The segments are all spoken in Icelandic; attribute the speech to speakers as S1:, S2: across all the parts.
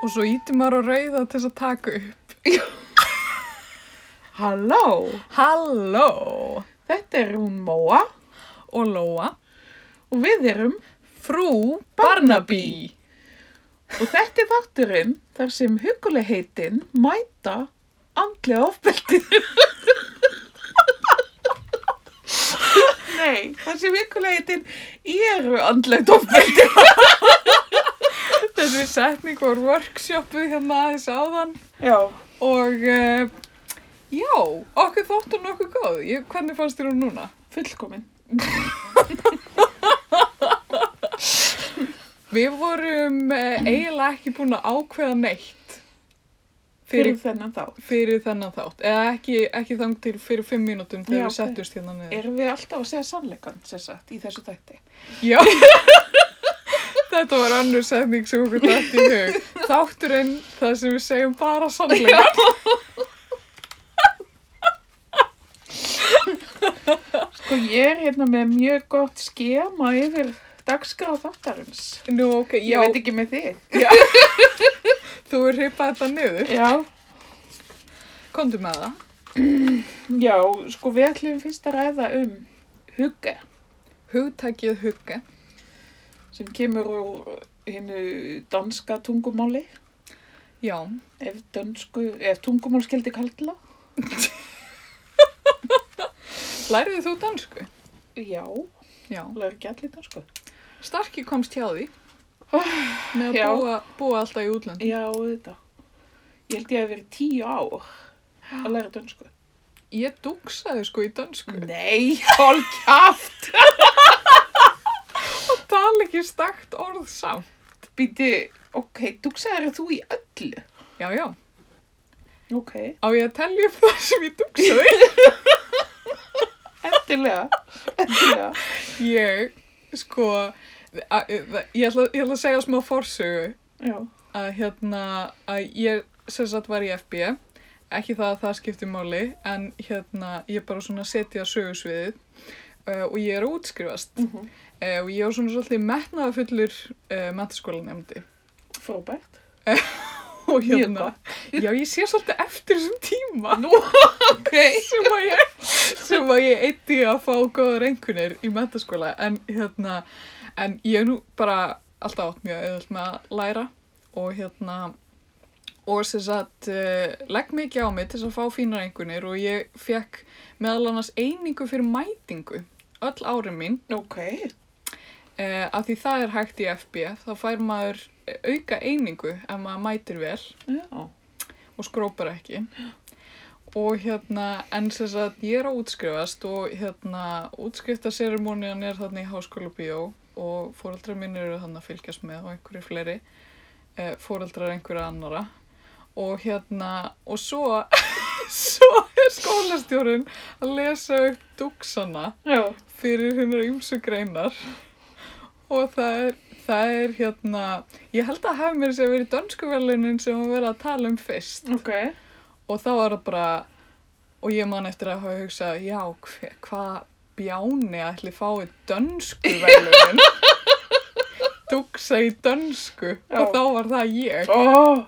S1: og svo íti maður á rauða til þess að taka upp.
S2: Halló,
S1: Halló!
S2: þetta er hún Móa
S1: Og Lóa,
S2: og við erum
S1: frú Barnaby.
S2: Barnaby. og þetta er þátturinn þar sem hugulegheitin mæta andlega ofbeldinu. Nei, þar sem hugulegheitin eru andlega ofbeldinu.
S1: Þessi setning var workshopuð hérna aðeins áðan
S2: Já,
S1: og uh, já, okkur þóttu nokkuð góð. Ég, hvernig fannst þér hún núna?
S2: fullkomin.
S1: Við vorum uh, eiginlega ekki búin að ákveða neitt
S2: Fyrir
S1: fyrir,
S2: þennan þá.
S1: fyrir þennan þátt. Eða ekki, ekki þang til fyrir fimm mínútum
S2: Já,
S1: þegar við
S2: ok.
S1: settumst hérna niður.
S2: Erum við alltaf að segja sannleikan, sér sagt, í þessu þætti?
S1: Já. Þetta var annur setning sem okkur dætt í hug. Þátturinn, það sem við segjum bara sannlega.
S2: Sko ég er hérna með mjög gott skema yfir dagsgráð þáttarins.
S1: Nú, ok,
S2: Ég
S1: já,
S2: veit ekki með þig.
S1: þú er hreipað þetta niður.
S2: Já,
S1: Komdu með það.
S2: já, sko við ætlum fyrst að ræða um hugge
S1: Hugtækið hugge.
S2: sem kemur úr hinnu danska tungumáli,
S1: Já.
S2: ef, dansku, ef tungumálskeldi kalla.
S1: Lærið þú dansku?
S2: Já,
S1: Já.
S2: það er ekki allir sko. dansku.
S1: Starki komst hjá því. Með
S2: Já.
S1: að búa, búa alltaf í útlönd.
S2: Já, þetta. Ég held ég að verið tíu ár að læra dansku.
S1: Ég dugsaði sko í dansku.
S2: Nei, hálf kjátt!
S1: Tala ekki stakt orð samt.
S2: Býti, ok, dugsaður þú í öllu?
S1: Já, já.
S2: Ok.
S1: Á ég að telja upp það sem ég dugsaði?
S2: Endilega, endilega.
S1: ég, sko, a, ég, ætla, ég ætla að segja smá forsögu
S2: Já,
S1: að hérna, að ég sem sagt var í FB, ekki það að það skipti máli, en hérna, ég bara svona setja sögusviðið uh, og ég er að útskrifast
S2: Mhm.
S1: uh, og ég var svona svolítið metnaðafullur uh, mentaskólanemndi.
S2: frábært.
S1: Og
S2: Mjög
S1: hérna, já, ég sé svolítið eftir þessum tíma.
S2: Nú, ok.
S1: sem að ég, sem að ég eitti að fá góðar einhvernir í mentaskóla en hérna, en ég hef nú bara alltaf átt mjög auðvöld með að læra og hérna og sem sagt uh, legg mikið á mig til þess að fá fínar einhvernir og ég fekk meðal annars einingu fyrir mætingu öll árin mín
S2: Ok,
S1: uh, af því það er hægt í FB þá fær maður eh, auka einingu ef maður mætir vel
S2: já.
S1: og skrópar ekki og hérna, en sem sagt ég er að útskrifast og hérna útskriftaseremónian er þarna í háskóla bíó og fóreldrar mín eru þarna að fylgjast með og einhverju fleiri eh, fóreldrar einhverja annara og hérna, og svo svo er skólastjórinn að lesa upp duksana
S2: Já,
S1: fyrir hennar ymsu greinar og það er, það er hérna, ég held að hafi mér sem verið dönskuverlunin sem að vera að tala um fyrst
S2: ok.
S1: og þá var það bara og ég man eftir að hafa hugsað já, hve- hvað bjáni ætli fái dönsku velunin dugsa í dönsku
S2: Já.
S1: og þá var það ég
S2: Ó,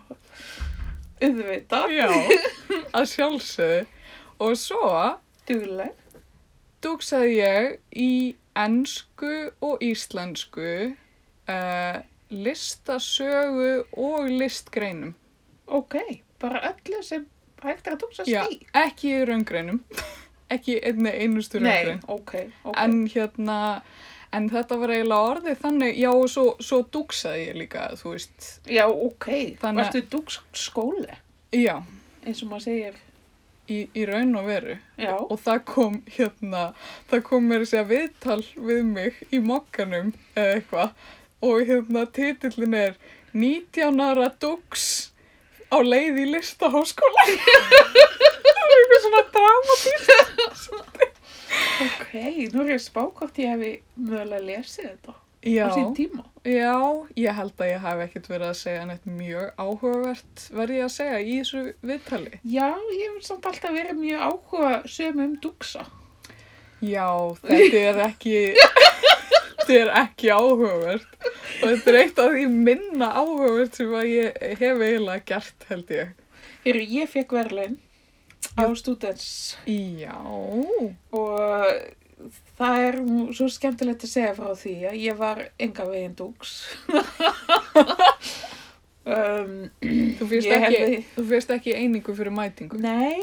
S2: auðvitað,
S1: já, að sjálfsögðu og svo
S2: dugleg.
S1: dugsaði ég í ennsku og íslensku uh, listasögu og listgreinum
S2: Ok, bara öllu sem hægt er að dugsa
S1: já,
S2: stí.
S1: ekki í raungreinum ekki í einni einustu raungrein
S2: Nei, ok, ok.
S1: en hérna en þetta var eiginlega orðið þannig já og svo, svo dugsaði ég líka þú veist,
S2: já, ok.
S1: Þannig-
S2: Varstu dugskóli,
S1: já,
S2: eins og maður segir.
S1: í, í raun og veru
S2: Já,
S1: og það kom hérna það kom mér að segja viðtal við mig í mokkanum eða eitthvað og hérna titillin er 19 ára dugs á leið í listaháskóla það er eitthvað svona dramatísk
S2: ok. Nú er ég spákvæmt ég hefði mögulega lesið þetta á sín
S1: já,
S2: tíma.
S1: já, ég held að ég hef ekkert verið að segja neitt mjög áhugavert verð ég að segja í þessu viðtali
S2: Já, ég hef samt alltaf verið mjög áhuga söm um dugsa.
S1: Já, þetta er ekki, þetta þetta er ekki áhugavert og þetta er eitt af því minna áhugavert sem að ég hef eiginlega gert held ég.
S2: Heyrðu, ég fekk verðlein á Students
S1: Já,
S2: og það er nú svo skemmtilegt að segja frá því að ég var enga veginn dúks. um,
S1: þú fyrst,
S2: Ég held
S1: ekki,
S2: að-
S1: þú fyrst ekki einingu fyrir mætingu.
S2: nei,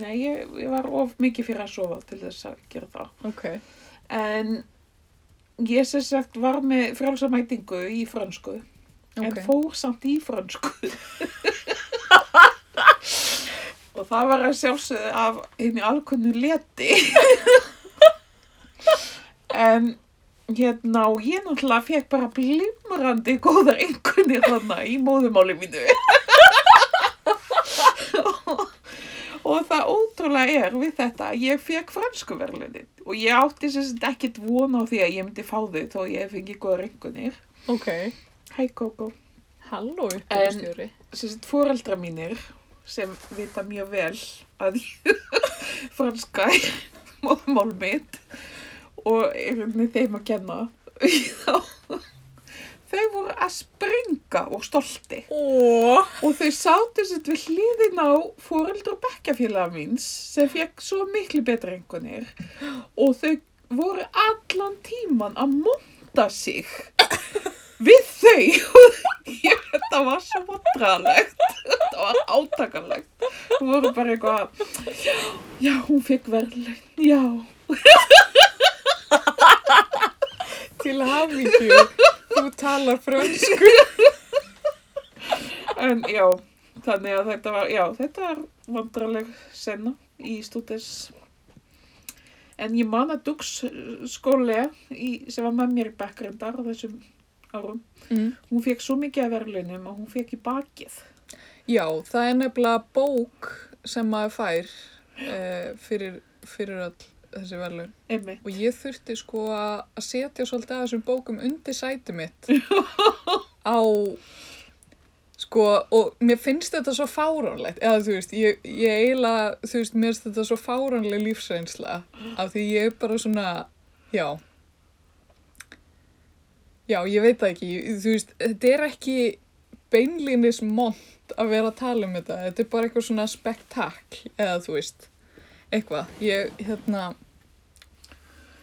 S2: nei ég, ég var of mikið fyrir að sofa til þess að gera það.
S1: Ok,
S2: En ég sem sagt var með frjálsamætingu í frönsku, en
S1: ok.
S2: fór samt í frönsku. Og það var að sjálfsögðu af henni alkunnu leti. en hérna, og ég náttúrulega fekk bara blimrandi góðar einhvernir þarna í móðumáli mínu. Og það ótrúlega er við þetta að ég fekk fransku verðlunin og ég átti sem sagt ekkit von á því að ég myndi fá þau þó ég fengi góða ringunir.
S1: Ok,
S2: Hæ Kókó.
S1: halló uppbyrðustjóri.
S2: Sem sagt fóreldra mínir sem vita mjög vel að franska er móðmál mitt og er með þeim að kenna. Þá- þau voru að springa og stolti.
S1: Ó,
S2: Og þau sátu sitt við hliðin á fóreldur og bekkjafélaga míns sem fekk svo miklu betra einhvernir og þau voru allan tíman að monta sig við þau. Ég, þetta var svo vandrarlegt, þetta var átakanlegt. Þau voru bara eitthvað, já, hún fekk verðlegin, já.
S1: til hafingju, þú talar frönsku.
S2: En já, þannig að þetta var, já, þetta var vandrarleg senna í stúdins. En ég man að Dux eh, skóli í, sem var með mér í bekkrendar á þessum árum,
S1: Mm.
S2: hún fekk svo mikið af verðlunum að hún fekk í bakið.
S1: Já, það er nefnilega bók sem maður fær eh, fyrir, fyrir all þessi verðlun.
S2: Einmitt.
S1: Og ég þurfti sko að setja svolítið að þessum bókum undir sæti mitt á, sko, og mér finnst þetta svo fáránlegt, eða þú veist, ég, ég eiginlega, þú veist, mér finnst þetta svo fáránleg lífsreynsla, af því ég er bara svona, já, já, ég veit það ekki, ég- þú veist, þetta er ekki beinlínis mont að vera að tala um þetta, þetta er bara eitthvað svona spektakl, eða þú veist, eitthvað, ég, hérna,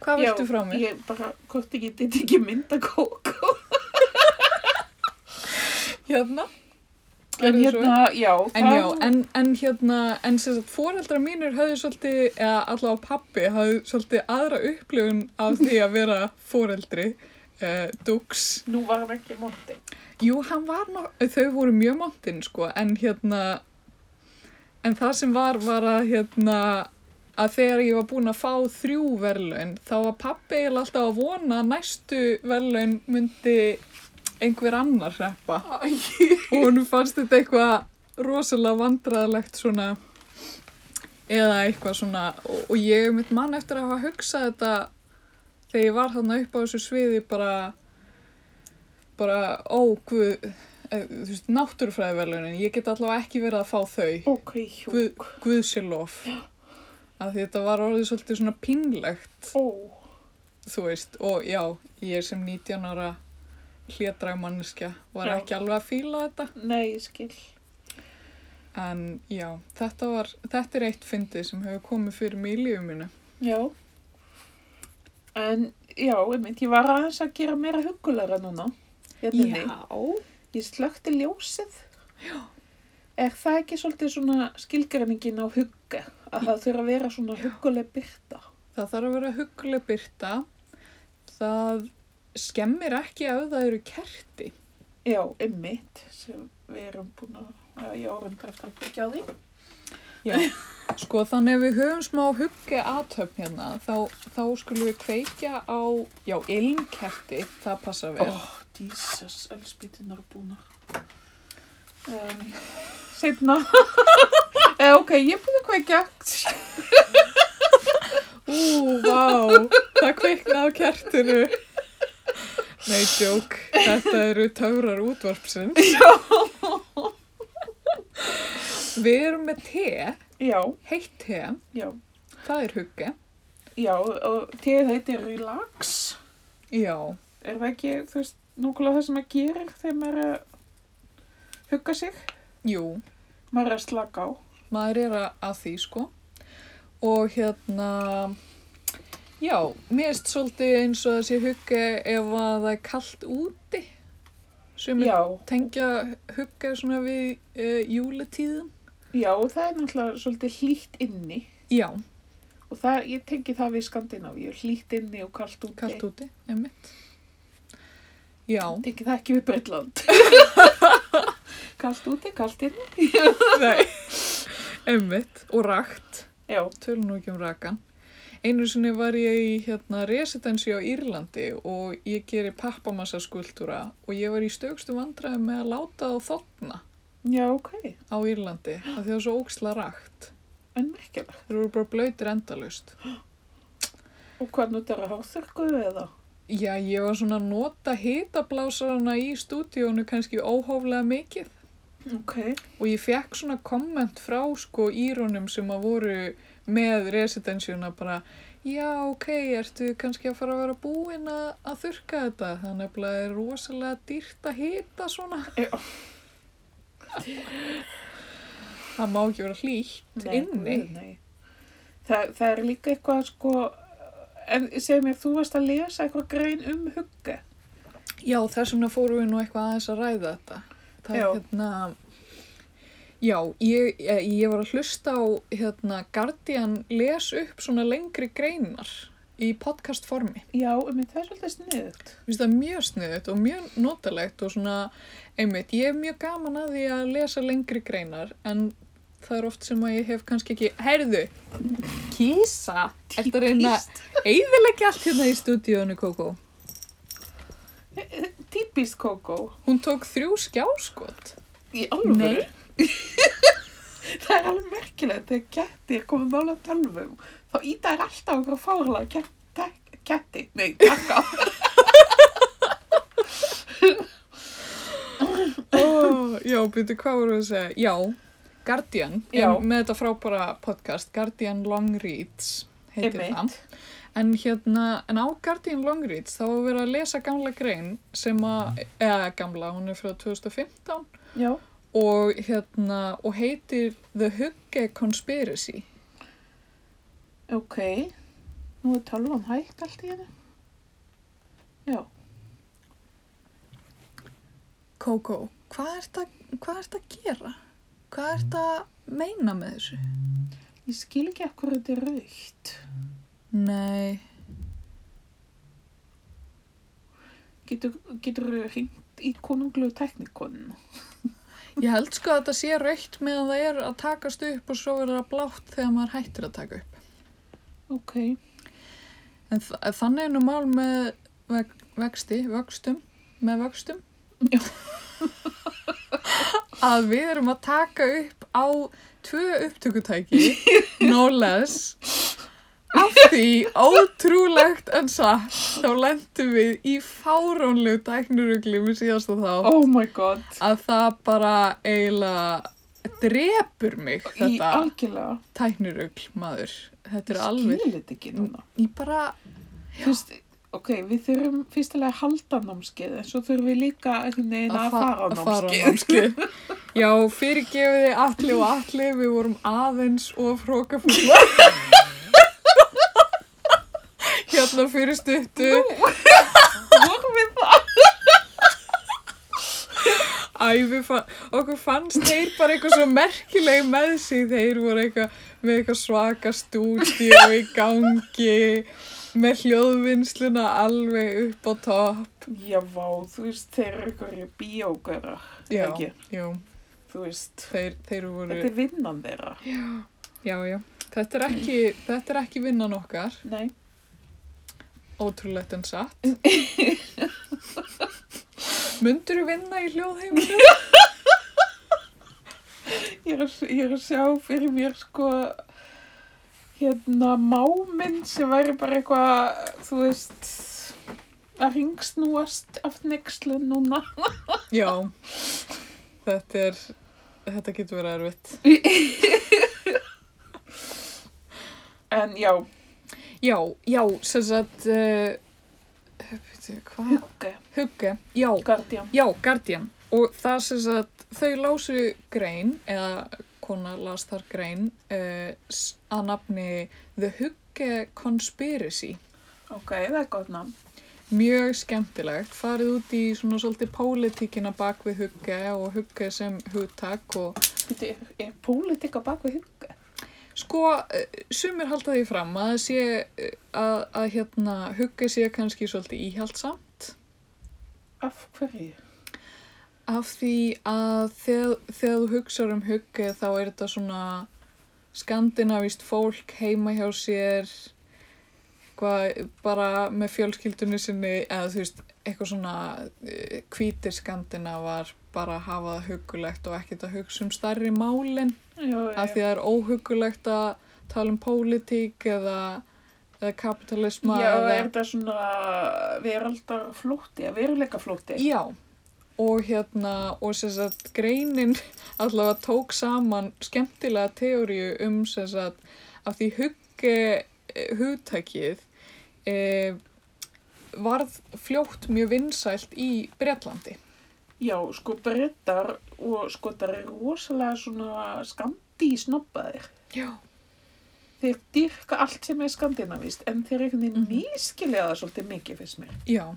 S1: Hvað
S2: Já,
S1: viltu frá mér?
S2: Ég bara, hvort ekki, þetta ekki mynda kókó.
S1: Hérna?
S2: En
S1: Gerðu svo vel.
S2: hérna, já,
S1: En já, en, en hérna, en sem sagt, fóreldra mínir höfðu svolítið, eða allavega pappi, höfðu svolítið aðra upplifun af því að vera fóreldri, uh, dugs.
S2: nú var hann ekki monti.
S1: Jú, hann var, ná, þau voru mjög montinn, sko, en hérna, en það sem var, var að hérna, að þegar ég var búin að fá þrjú verðlaun, þá var pappi eiginlega alltaf að vona að næstu verðlaun myndi einhver annar hreppa. og hún fannst þetta eitthvað rosalega vandræðalegt svona eða eitthvað svona og, og ég mitt mann eftir að hafa hugsað þetta þegar ég var þarna upp á þessu sviði bara bara ó guð eh, þú veist náttúrufræðivelunin ég get allavega ekki verið að fá þau
S2: Ok, hjúk.
S1: guð, guðsilof af því þetta var orðið svolítið svona pínlegt
S2: Ó,
S1: þú veist og já ég sem 19 ára hlédragmanneskja var
S2: Já.
S1: ekki alveg að fíla þetta
S2: nei, ég skil.
S1: En já, þetta, var, þetta er eitt fyndið sem hefur komið fyrir mig í lífið mínu.
S2: Já. En já, einmitt, ég var aðeins að gera meira hugulega núna. Hérna niður. Ég slökkti ljósið. Er það ekki svolítið svona skilgreiningin á hugga? Að það þurfa að vera svona huguleg byrta?
S1: Það þarf að vera huguleg byrta. Það skemmir ekki ef það eru kerti.
S2: Já, einmitt, sem við erum búin að, að ég orðin eftir að byggja á því.
S1: Já. Sko þannig ef við höfum smá hugge aðtöfn hérna, þá, þá skulum við kveikja á, já, ilmkerti, það passa
S2: Ó,
S1: vel.
S2: Jesus, elspýtunar búnar. Um, Seinna. eh, ok, ég er búin að kveikja.
S1: Ú, vá, það kveikna á kertinu. Nei, djók, þetta eru töfrar útvarpsins. Við erum með te,
S2: Já,
S1: heitt te,
S2: já.
S1: það er hugge.
S2: Já, og teið heitir Relax
S1: Já,
S2: Er það ekki, þú veist, núkulega það sem maður gerir þegar maður er að hugga sig?
S1: jú,
S2: Maður er að slaka á.
S1: maður er að- að því sko og hérna já, mér erst svolítið eins og þessi hugge ef að það er kallt úti sem er
S2: Já,
S1: tengja hugge svona við e, júletíðum
S2: já, og það er náttúrulega svolítið hlýtt inni.
S1: já,
S2: Og það, ég tengi það við Skandinavíu, hlýtt inni og kallt úti.
S1: kallt úti, einmitt já,
S2: Tengi það ekki við Breitland. kallt úti, kallt inni.
S1: nei einmitt, og rakt
S2: Já,
S1: tölum nú ekki um rakan einu sinni var ég í hérna residensi á Írlandi og ég geri pappamassa skuldura og ég var í stökstu vandræðum með að láta þá þotna
S2: já, ok.
S1: á Írlandi af því það var svo óksla rakt
S2: En merkilega.
S1: þeir voru bara blöytir endalust
S2: Og hvað notar að hárþurkuðu eða?
S1: já ég var svona að nota hitablásarana í stúdíónu kannski óhóflega mikið
S2: Ok.
S1: og ég fekk svona komment frá sko írunum sem að voru með residensjuna bara já ok, ertu kannski að fara að vera búin að, að þurka þetta þannig að er rosalega dýrt að hita svona
S2: Já.
S1: það má ekki vera hlýtt inni
S2: guð, Nei. Þa, það er líka eitthvað sko, en segir mér, þú varst að lesa eitthvað grein um hugga.
S1: já þess vegna fórum við nú eitthvað aðeins að ræða þetta það
S2: Já.
S1: er hérna já, ég, ég ég var að hlusta á hérna Guardian les upp svona lengri greinar í podcast formi
S2: Já, um það er svolítið sniðut.
S1: Mér finnst það mjög sniðut og mjög notalegt og svona, einmitt, ég hef mjög gaman að því að lesa lengri greinar en það er oft sem að ég hef kannski ekki, heyrðu, kísa, eftir að reyna að eyðilegja allt hérna í stúdíónu Kókó.
S2: Típist Kókó.
S1: Hún tók þrjú skjáskot.
S2: Í alveg?
S1: Nei.
S2: það er alveg merkilegt þegar kettir komum nála tölvum. Þá íta er alltaf okkur fárlega ket, tek, ketti. Nei, takka.
S1: Oh, já, byrju, hvað voru að segja? Já, Guardian,
S2: Já.
S1: Ég, með þetta frábæra podcast, Guardian Long Reads, heitir
S2: Einmitt.
S1: það. En hérna, en á Guardian Longreads þá var verið að lesa gamla grein sem að, eða gamla, hún er frá 2015
S2: Já.
S1: og hérna, og heitir The Hugge Conspiracy.
S2: Ok. Nú er tölvan hægt allt í henni. Já.
S1: Kókó, hvað ert að, hvað ert að gera? Hvað ert að meina með þessu?
S2: Ég skil ekki af hverju þetta er raukt.
S1: Nei,
S2: Getur, getur hringt í konunglu teknikonuna?
S1: ég held sko að þetta sé raukt meðan það er að takast upp og svo verður það blátt þegar maður hættir að taka upp.
S2: Ok.
S1: En þa- þannig er nú mál með veg, vexti, vöxtum, með vöxtum.
S2: Já.
S1: að við erum að taka upp á tvö upptökutæki, no less, af því ótrúlegt en satt, þá lendum við í fárónlegu tæknurugli með síðasta þá.
S2: Oh my god.
S1: Að það bara eiginlega drepur mig,
S2: Í
S1: þetta
S2: algjörlega.
S1: tæknurugl, maður. Þetta er alveg,
S2: Skilir þetta ekki núna.
S1: ég bara
S2: Fyrst, ok, við þurfum fyrstilega að halda námskeið, en svo þurfum við líka einhvern veginn að
S1: fa-
S2: fara á
S1: að fara á
S2: námskeið.
S1: námskeið. Já, fyrirgefiði allir og allir, við vorum aðeins og frókafúla. hérna fyrir stuttu.
S2: Vorum við það?
S1: Æ, við fann, okkur fannst þeir bara eitthvað svo merkileg með sig. Þeir voru eitthvað með eitthvað svaka stúdíu í gangi, með hljóðvinnsluna alveg upp á topp.
S2: Já, vá, þú veist, þeir eru einhverju bíógöra,
S1: Já,
S2: Ekki.
S1: já,
S2: þú veist.
S1: þeir, þeir voru,
S2: Þetta er vinnan þeirra.
S1: já, já. Þetta er ekki, þetta er ekki vinnan okkar.
S2: Nei,
S1: Ótrúlegt en satt. Mundur þú vinna í hljóðheiminu?
S2: ég er, að- ég er að sjá fyrir mér sko, hérna, máminn sem væri bara eitthvað, þú veist, að ringsnúast af nexlu núna.
S1: Já, þetta er, þetta getur verið erfitt.
S2: En já,
S1: Já, já, sem sagt, uh, Bíddu, Hvað?
S2: Hugge,
S1: Hugge, já,
S2: Guardian.
S1: já, Guardian. Og það sem sagt, þau lásu grein, eða kona las þar grein, uh, að nafni The Hugge Conspiracy.
S2: Ok, það er gott namn.
S1: Mjög skemmtilegt, farið út í svona svolítið pólitíkina bak við Hugge og Hugge sem hugtak og
S2: Býtu, er, er pólitík á baku hugge?
S1: Sko, eh, sumir halda því fram að það sé eh, að, að hérna, hugga sé kannski svolítið íhaldsamt
S2: Af hverju?
S1: af því að þegar, þegar þú hugsar um hugga þá er þetta svona skandinavíst fólk heima hjá sér hvað, bara með fjölskyldunni sinni eða þú veist, eitthvað svona eh, hvítir skandinavar bara hafa það huggulegt og ekkert að hugsa um stærri málin
S2: Já,
S1: af því að það er óhugulegt að tala um pólitík eða, eða kapitalisma
S2: Já,
S1: eða,
S2: er þetta svona veraldar flótti, veruleika flótti?
S1: já og hérna og sem sagt greinin allavega tók saman skemmtilega teóriu um sem sagt af því hugge eh, hugtækið e, varð fljótt mjög vinsælt í Bretlandi
S2: Já, sko brettar og skotar er rosalega svona skandi snobbaðir.
S1: já
S2: Þeir dyrka allt sem er skandinavist, en þeir einhvern veginn mm
S1: Mhm.
S2: -hmm. mískilja það svolítið mikið fyrst mér.
S1: já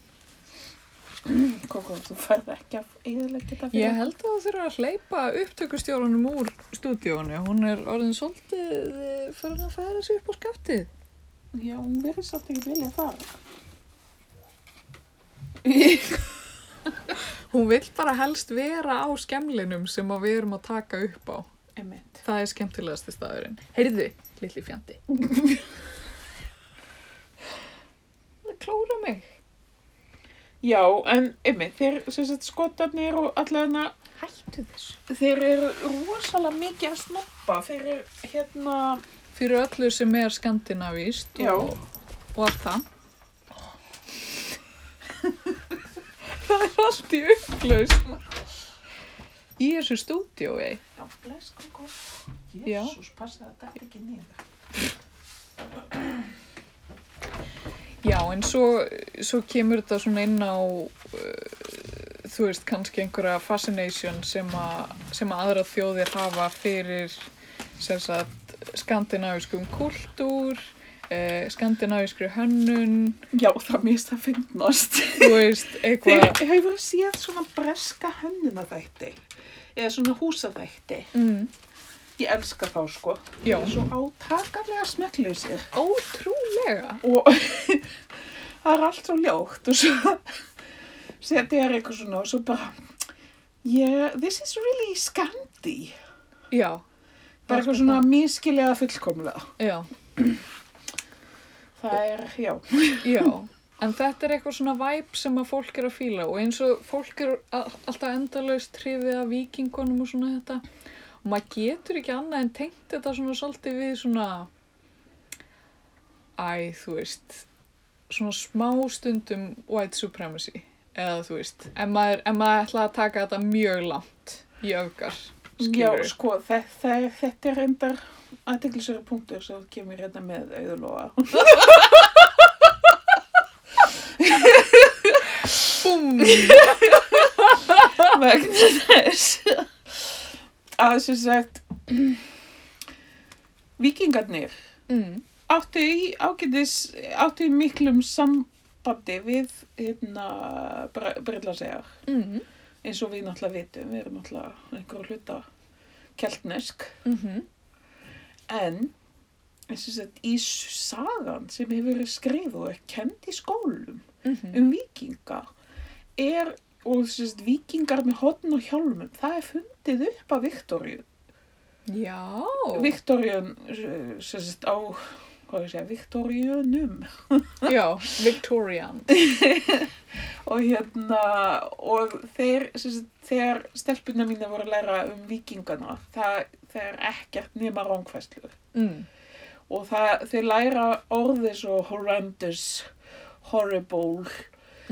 S2: Kókó, þú færð ekki að eðilegja þetta fyrir.
S1: Mhm. Ég held að það þurfa að hleypa upptökustjórunum úr stúdíónu. Hún er orðin svolítið eh, farin að færa sig upp á skaftið.
S2: Já, hún verður svolítið ekki vilja það.
S1: Hún vill bara helst vera á skemlinum sem að við erum að taka upp á.
S2: Emmett.
S1: Það er skemmtilegasti staðurinn. Heyrðu, lilli fjandi. Það klóra mig.
S2: Já, en emmett, þeir, sem sagt, skotarnir og allavega
S1: Hættu þessu.
S2: Þeir eru rosalega mikið að snoppa fyrir hérna...
S1: Fyrir öllu sem er skandinavíst
S2: Já,
S1: og, og allt það. það er allt í upplausn. Í þessu stúdíói.
S2: já, bless, kom, kom.
S1: Já.
S2: Jésús, passa það, þetta ekki niður.
S1: Já, en svo, svo kemur þetta svona inn á, uh, þú veist, kannski einhverja fascination sem, a, sem að aðra þjóðir hafa fyrir sem sagt, skandinavískum kultúr, uh, skandinavískri hönnun,
S2: Já, það mérst að finnast.
S1: þú veist,
S2: Þeir
S1: eitthvað.
S2: hefur séð svona breska hönnuna þætti. Eða svona húsaþætti.
S1: Mm,
S2: Ég elska þá, sko.
S1: Já.
S2: Þeir eru Svo átakarlega smekklusir.
S1: ótrúlega.
S2: Og það er allt svo ljótt og svo setja þér eitthvað svona og svo bara... Yeah, this is really Scandi.
S1: Já,
S2: Bara eitthvað svona miskiljaða fullkomlega.
S1: já,
S2: Það er, já.
S1: já. En þetta er eitthvað svona væp sem að fólk er að fíla og eins og fólk er a- alltaf endalaust hrifið af vikingunum og svona þetta. og maður getur ekki annað en tengt þetta svona svolítið við svona æ, þú veist svona smá stundum white supremacy eða þú veist, en maður, en maður ætla að taka þetta mjög langt í öfgar
S2: Já,
S1: skilur
S2: sko, þe þe þetta er reyndar aðteglisverið punktur sem þú kemur hérna með auðlóa. sko.
S1: Búm!
S2: Vegna þess að sem sagt, vikingarnir
S1: Mm,
S2: áttu í ágætis, áttu í miklum sambandi við hérna bre brellasegar.
S1: mm,
S2: Eins og við náttúrulega vitum, við erum náttúrulega einhverju hluta keltnesk.
S1: mhm,
S2: En sem sagt, í sagan sem hefur verið skrifuð og er kend í skólum
S1: mhm.
S2: um vikinga er, og sem sagt, vikingar með hotn og hjálmum, það er fundið upp af Viktoríu.
S1: Já,
S2: Viktoríun, eh, sem sagt, á, hvað ég segja, Viktoríunum.
S1: já, Victorian.
S2: Og hérna, og þeir, sem sagt, þegar stelpuna mína voru að læra um vikingana, það, það er ekkert nema rángfæslu.
S1: Mm,
S2: og það, þeir læra orðið svo horrendous, horrible,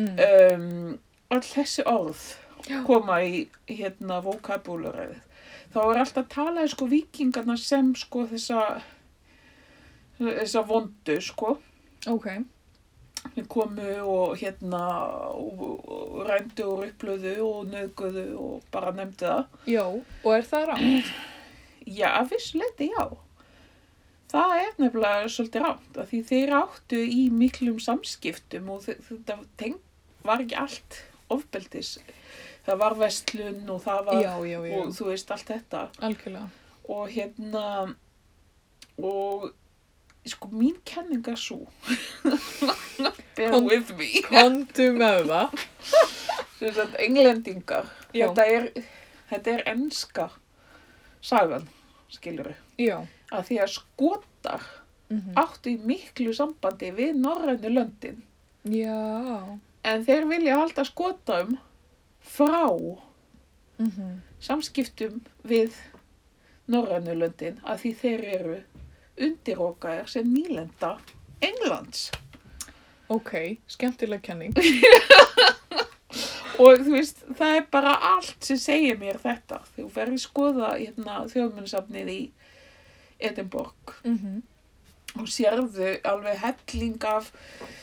S1: mm.
S2: um, all þessi orð
S1: Já.
S2: koma í hérna vokabularið. Þá er alltaf talað sko vikingarna sem sko þessa, þessa vondu sko,
S1: Ok,
S2: Þeir komu og hérna og, og rændu og upplöðu og nöguðu og bara nefndi það.
S1: Já, og er það rámt?
S2: Já, að vissu leiti já. Það er nefnilega svolítið rámt af því þeir áttu í miklum samskiptum og þe- þetta teng, var ekki allt ofbeldis. Það var vestlun og það var,
S1: Já, já, já,
S2: og þú veist, allt þetta.
S1: algjörlega.
S2: Og hérna, og sko mín kenning er svo. Bear
S1: Kom-
S2: with me.
S1: Kondu með það.
S2: Sem sagt, englendingar.
S1: Já.
S2: Þetta er, þetta er enska sagan, skilur við.
S1: Já.
S2: Að því að skotar
S1: mhm.
S2: áttu í miklu sambandi við norrænu löndin
S1: Já.
S2: en þeir vilja halda skotum frá
S1: mhm.
S2: samskiptum við norrænu löndin að því þeir eru undirókaðir sem nýlenda Englands
S1: Ok, skemmtileg kenning.
S2: og þú veist það er bara allt sem segir mér þetta þú ferði skoða hérna, þjóðmunnsafnið í Edinborg
S1: Mhm.
S2: og sérðu alveg helling af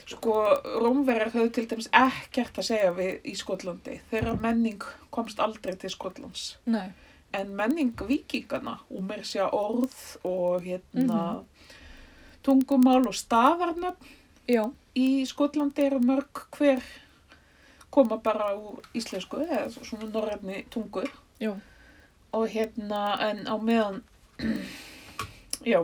S2: sko rómverjar höfðu til dæmis ekkert að segja við í Skotlandi þeirra menning komst aldrei til Skotlands
S1: Nei.
S2: en menning vikingana og mér sé orð og hérna tungumál og stafarnöfn
S1: Já.
S2: í Skotlandi eru mörg hver koma bara úr íslensku eða svona norrænni tungu
S1: Já.
S2: og hérna en á meðan já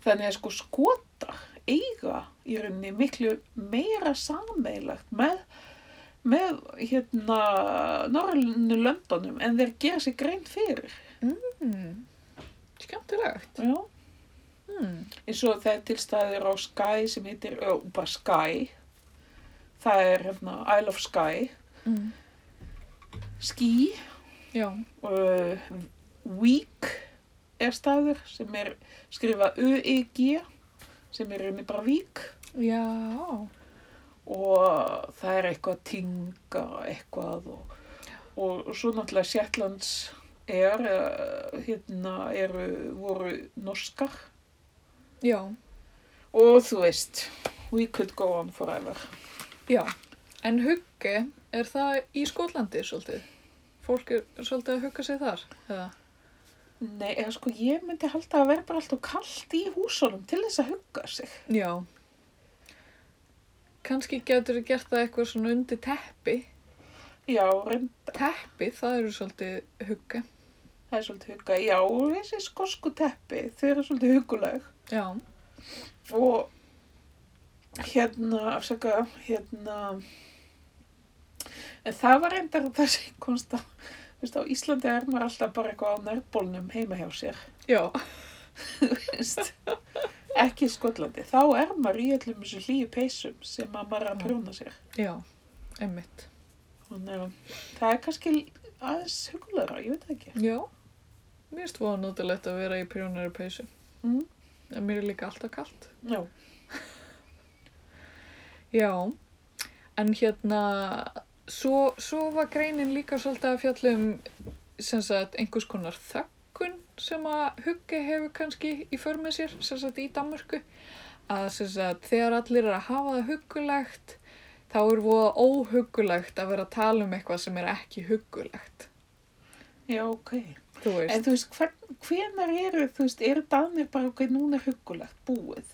S2: þannig að sko skotar eiga í rauninni miklu meira sameilagt með með hérna norrlunni löndunum en þeir gera sér grein fyrir
S1: Mm. Skemmtilegt.
S2: já.
S1: Mm.
S2: eins og það er tilstæður á Sky sem heitir, ö, bara Sky það er hérna Isle of Sky
S1: Mm.
S2: Ski
S1: Já.
S2: uh, Week er staður sem er skrifað UEG sem er rauninni bara vík
S1: Já.
S2: og það er eitthvað tinga eitthvað og, og, og svo náttúrulega Shetlands er eh, hérna eru voru norskar
S1: Já.
S2: og þú veist we could go on forever
S1: Já. En hugge, er það í Skotlandi svolítið? Fólk er svolítið að hugga sig þar? Eða?
S2: Nei, eða sko ég myndi halda að vera bara alltaf kallt í húsunum til þess að hugga sig.
S1: Já. Kanski getur þið gert það eitthvað svona undir teppi.
S2: Já, reynd,
S1: Teppi, það eru svolítið hugge.
S2: það er svolítið hugga. Já, og þessi skosku teppi, þau eru svolítið huguleg.
S1: Já.
S2: og hérna, afsaka, hérna, en það var reyndar það sem komst á, þú veist, á Íslandi er maður alltaf bara eitthvað á nærbólnum heima hjá sér,
S1: Já.
S2: þú veist, ekki í Skotlandi, þá er maður í öllum þessu hlýju peysum sem að maður er að prjóna sér.
S1: Já. Emmitt.
S2: Þannig að það er kannski aðeins hugulegra, ég veit það ekki.
S1: Já. Mér erst voða notalegt að vera í prjónari peysu.
S2: Mm.
S1: En mér er líka alltaf kallt.
S2: Já,
S1: Já. En hérna, svo, svo var greinin líka svolítið að fjallum sem sagt einhvers konar þökkun sem að hugge hefur kannski í för með sér, sem sagt í Danmörku að sem sagt þegar allir er að hafa það huggulegt þá er voða óhuggulegt að vera að tala um eitthvað sem er ekki huggulegt
S2: já, ok.
S1: þú veist,
S2: En þú veist, hvern, hvenar eru, þú veist, eru danir bara ok, núna er hugulegt, búið?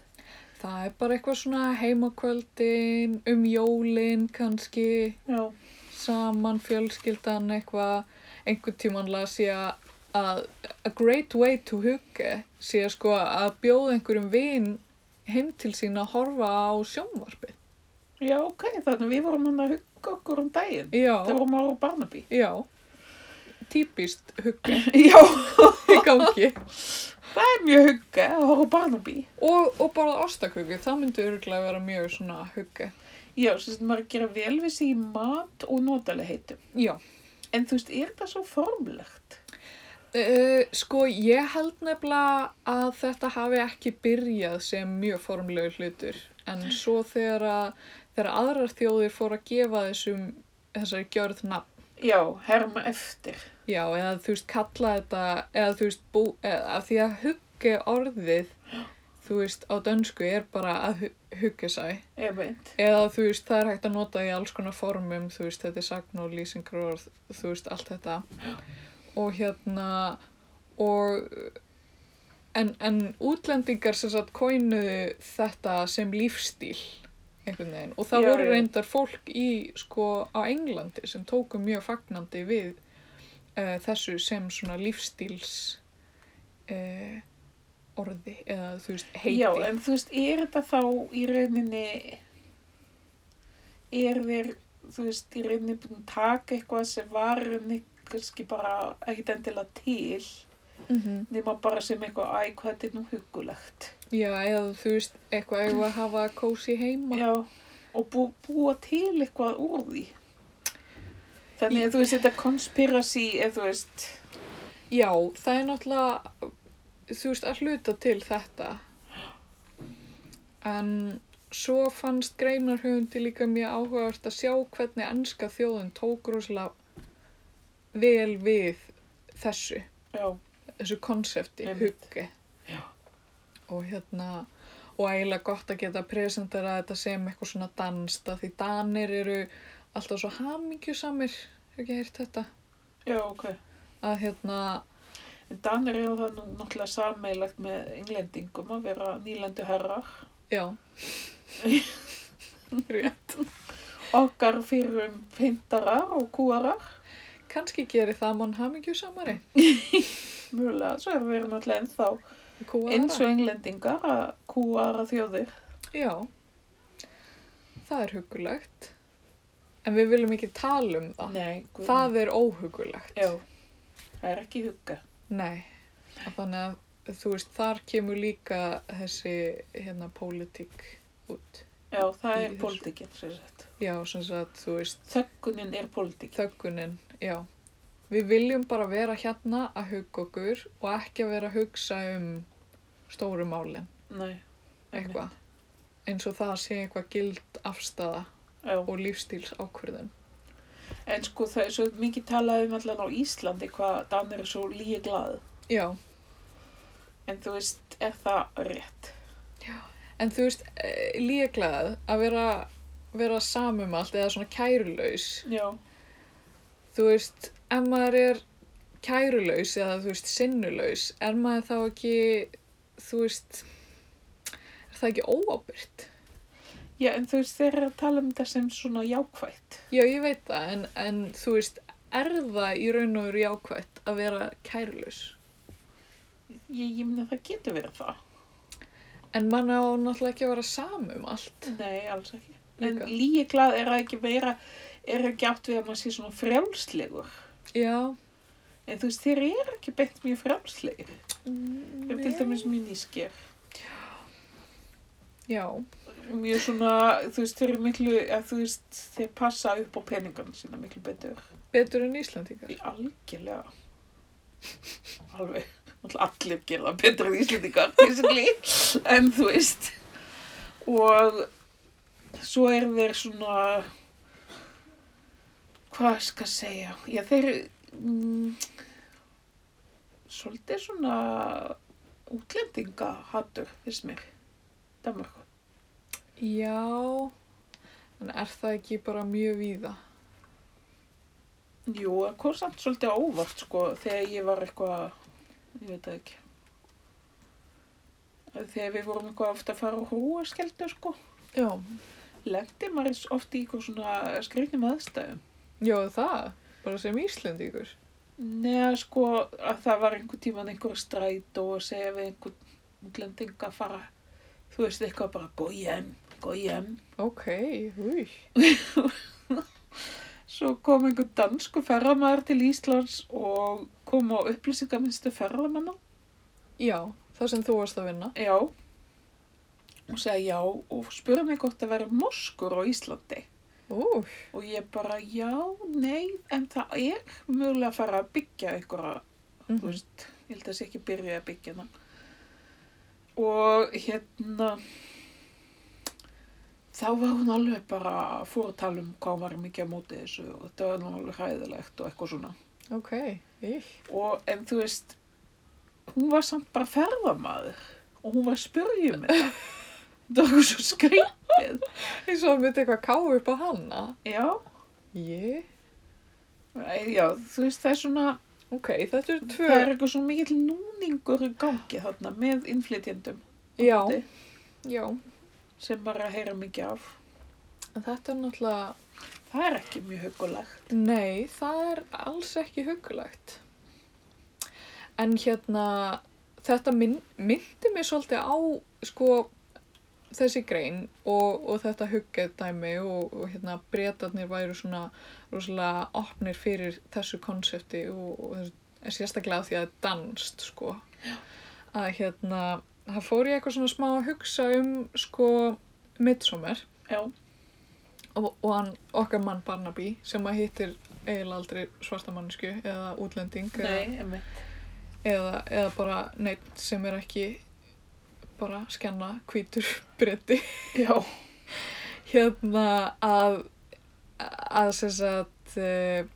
S1: það er bara eitthvað svona heimakvöldin um jólin kannski
S2: Já,
S1: saman fjölskyldan eitthvað, einhvern tíman las ég að- að a great way to hugge sé sko að bjóða einhverjum vin heim til sín að horfa á sjónvarpið.
S2: já, ok, þannig að við vorum hann að hugga okkur um daginn. Það
S1: Já,
S2: vorum ára á Barnaby.
S1: já. Típist hugge
S2: Já,
S1: í gangi.
S2: það er mjög hugga að horfa á Barnaby.
S1: Og, og bara ástaköku, það myndi örgulega vera mjög svona hugge.
S2: Já, sem sagt, maður gera vel við sig í mat og notalega heitum.
S1: Já.
S2: En þú veist, er það svo formlegt?
S1: Uh, sko, ég held nefnilega að þetta hafi ekki byrjað sem mjög formlegu hlutur en svo þegar, að, þegar aðrar þjóðir fór að gefa þessum þessari gjörð nafn
S2: Já, herma eftir.
S1: já, eða þú veist kalla þetta eða þú veist bú, eða af því að hugge orðið þú þú veist, á dönsku er bara að hu hugja sæ.
S2: Ég veit.
S1: Eða þú veist, það er hægt að nota í alls konar formum, þú veist, þetta er sagn og lýsingur og þú veist, allt þetta. Og hérna, og, en, en útlendingar sem sagt koinuðu þetta sem lífstíl, einhvern veginn. Og það
S2: Já,
S1: voru
S2: já.
S1: reyndar fólk í, sko, á Englandi sem tóku mjög fagnandi við uh, þessu sem svona lífstíls uh, orði, eða þú veist, heiti.
S2: Já, en þú veist, er þetta þá í rauninni, er þeir, þú veist, í rauninni búin að taka eitthvað sem var í rauninni kannski bara ekkit endilega til,
S1: Mhm.
S2: nema bara sem eitthvað, æ, hvað þetta er nú hugulegt.
S1: Já, eða þú veist, eitthvað eigum við að hafa kósi heima.
S2: Já, og bú, búa til eitthvað úr því. Þannig að þú veist, þetta conspiracy, eða þú veist,
S1: Já, það er náttúrulega, þú veist, að hluta til þetta. En svo fannst greinarhöfundi líka mjög áhugavert að sjá hvernig ennska þjóðin tók rosalega vel við þessu,
S2: já,
S1: þessu konsepti,
S2: Einmitt.
S1: hugge. Og hérna, og eiginlega gott að geta presentera þetta sem eitthvað svona dansta, því danir eru alltaf svo hamingjusamir, hefur ekki heyrt þetta?
S2: já, ok.
S1: að hérna,
S2: En Danir eru það nú náttúrulega sameilagt með englendingum að vera nýlendu herrar.
S1: já rétt
S2: okkar fyrirum pyntarar og kúarar.
S1: kannski gerir það mann hamingjusamari
S2: Mjögulega, svo erum við náttúrulega ennþá
S1: Kúara.
S2: eins og englendingar að kúara þjóðir.
S1: já það er hugulegt en við viljum ekki tala um það
S2: Nei, guð.
S1: það er óhugulegt
S2: Já, það er ekki hugga.
S1: nei að þannig að þú veist þar kemur líka þessi hérna pólitík út
S2: Já, það
S1: Í
S2: er
S1: þessu.
S2: pólitíkinn, sér sett.
S1: já sem sagt þú veist
S2: Þöggunin er pólitíkinn.
S1: þöggunin, já. Við viljum bara vera hérna að hugga okkur og ekki að vera að hugsa um stóru málin,
S2: Nei,
S1: eitthvað. Eins og það sé eitthvað gild afstafa
S2: já.
S1: og lífstíls ákvörðun.
S2: En sko það er svo mikið talað um allan á Íslandi hvað Danir er svo líi glað.
S1: Já,
S2: En þú veist, er það rétt?
S1: en þú veist, eh, líklegað að vera, vera samum allt eða svona kærulaus.
S2: Já,
S1: Þú veist, ef maður er kærulaus eða þú veist, sinnulaus, er maður þá ekki, þú veist, er það ekki óábyrgt?
S2: já en þú veist, þeir eru að tala um þetta sem svona jákvætt.
S1: Já, ég veit það, en, en þú veist, er það í raun og veru jákvætt að vera kærlaus?
S2: Ég, ég myndi að það getur verið það.
S1: En mann á náttúrulega ekki að vera samum um allt.
S2: Nei, alls ekki. En
S1: Líka.
S2: lígi glað er það ekki meira, er ekki átt við að maður sé svona frjálslegur.
S1: Já.
S2: En þú veist, þeir eru ekki beint mjög frjálslegir. Þeir eru til
S1: Mm, Nei.
S2: dæmis mjög nýskir.
S1: Já,
S2: Mjög svona, þú veist, þeir eru miklu, að þú veist, þeir passa upp á peningana sína miklu betur.
S1: betur en Íslandíkar.
S2: Í algjörlega. Alveg. náttúrulega Allir gera það betur en Íslendingar, basically. En þú veist. Og svo eru þeir svona, hvað skal segja? Já, þeir eru mm, svolítið svona útlendinga hattur, finnst mér. Danmarku.
S1: Já, en er það ekki bara mjög víða?
S2: Jú, það kom samt svolítið á óvart, sko, þegar ég var eitthvað, ég veit það ekki. Þegar við vorum eitthvað ofta að fara á hrúaskeldu, sko,
S1: Já.
S2: lendi maður ofta í eitthvað svona skrýtnum aðstæðum.
S1: Já, það, bara sem Íslandíkur.
S2: Neða, sko, að það var einhver tíman einhver stræt og að segja við einhver útlending að fara, þú veist, eitthvað bara, go hjem, go hjem.
S1: Ok, húi.
S2: Svo kom einhver dansku ferðamaður til Íslands og kom á upplýsingaminstu ferðamanna.
S1: Já, það sem þú varst að vinna.
S2: Já. Og sagði já og spurði mig hvort að vera moskur á Íslandi.
S1: Ú,
S2: Og ég bara já, nei, en það er mögulega að fara að byggja einhverja,
S1: mhm.
S2: þú veist, ég held að sé ekki byrja að byggja hana. Og hérna, þá var hún alveg bara fór að tala um hvað hún var mikið á móti þessu og þetta var nú alveg hræðilegt og eitthvað svona.
S1: ok, íll.
S2: Og en þú veist, hún var samt bara ferðamaður. og hún var að spyrja mig það. Þetta var eitthvað svo skrýpið.
S1: Eins og hann myndi eitthvað ká upp á hanna.
S2: Já,
S1: Jé,
S2: Æ, já, þú veist það er svona,
S1: ok, þetta eru tvö.
S2: það er eitthvað svo mikill núningur í gangi þarna með innflytjendum
S1: Já,
S2: Úti.
S1: já.
S2: sem bara heyra mikið af.
S1: En þetta er náttúrulega,
S2: Það er ekki mjög hugulegt.
S1: nei, það er alls ekki hugulegt. En hérna, þetta myn, myndi mér svolítið á, sko, þessi grein og, og þetta huggeð dæmi og, og hérna breytarnir væru svona rosalega opnir fyrir þessu konsepti og, og þessu, sérstaklega af því að það er danst sko að hérna það fór ég eitthvað svona smá að hugsa um sko midsommar
S2: Já.
S1: og, og hann, okkar mann Barnaby sem að hittir eiginlega aldrei svartamannsku eða útlending eða,
S2: einmitt.
S1: eða, eða bara neitt sem er ekki bara skjanna hvítur breyti
S2: Já,
S1: hérna að að sem sagt eh,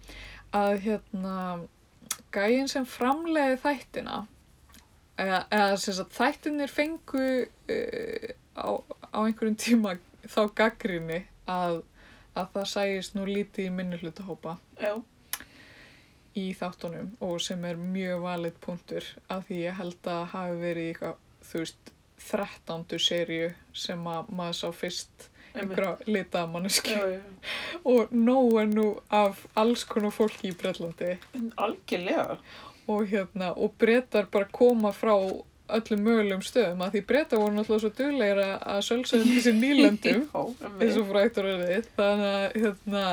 S1: að hérna gæin sem framleiði þættina eða, eða sem sagt þættinir fengu uh, á, á einhverjum tíma þá gaggrinni að, að það sægist nú lítið í minni hlutahópa
S2: já,
S1: í þáttunum og sem er mjög valið punktur af því ég held að hafi verið í eitthvað, þú veist, 13. serju sem að maður sá fyrst
S2: einmitt.
S1: einhverja litaða manneski
S2: Já, já, já.
S1: og nóg er nú af alls konar fólki í Breitlandi
S2: En Algjörlega.
S1: og hérna, og brettar bara koma frá öllum mögulegum stöðum að því brettar voru náttúrulega svo duglegir að- að sölsöðum þessi nýlöndum
S2: Já,
S1: eins
S2: einmitt.
S1: og fræktur er þitt þannig að, hérna,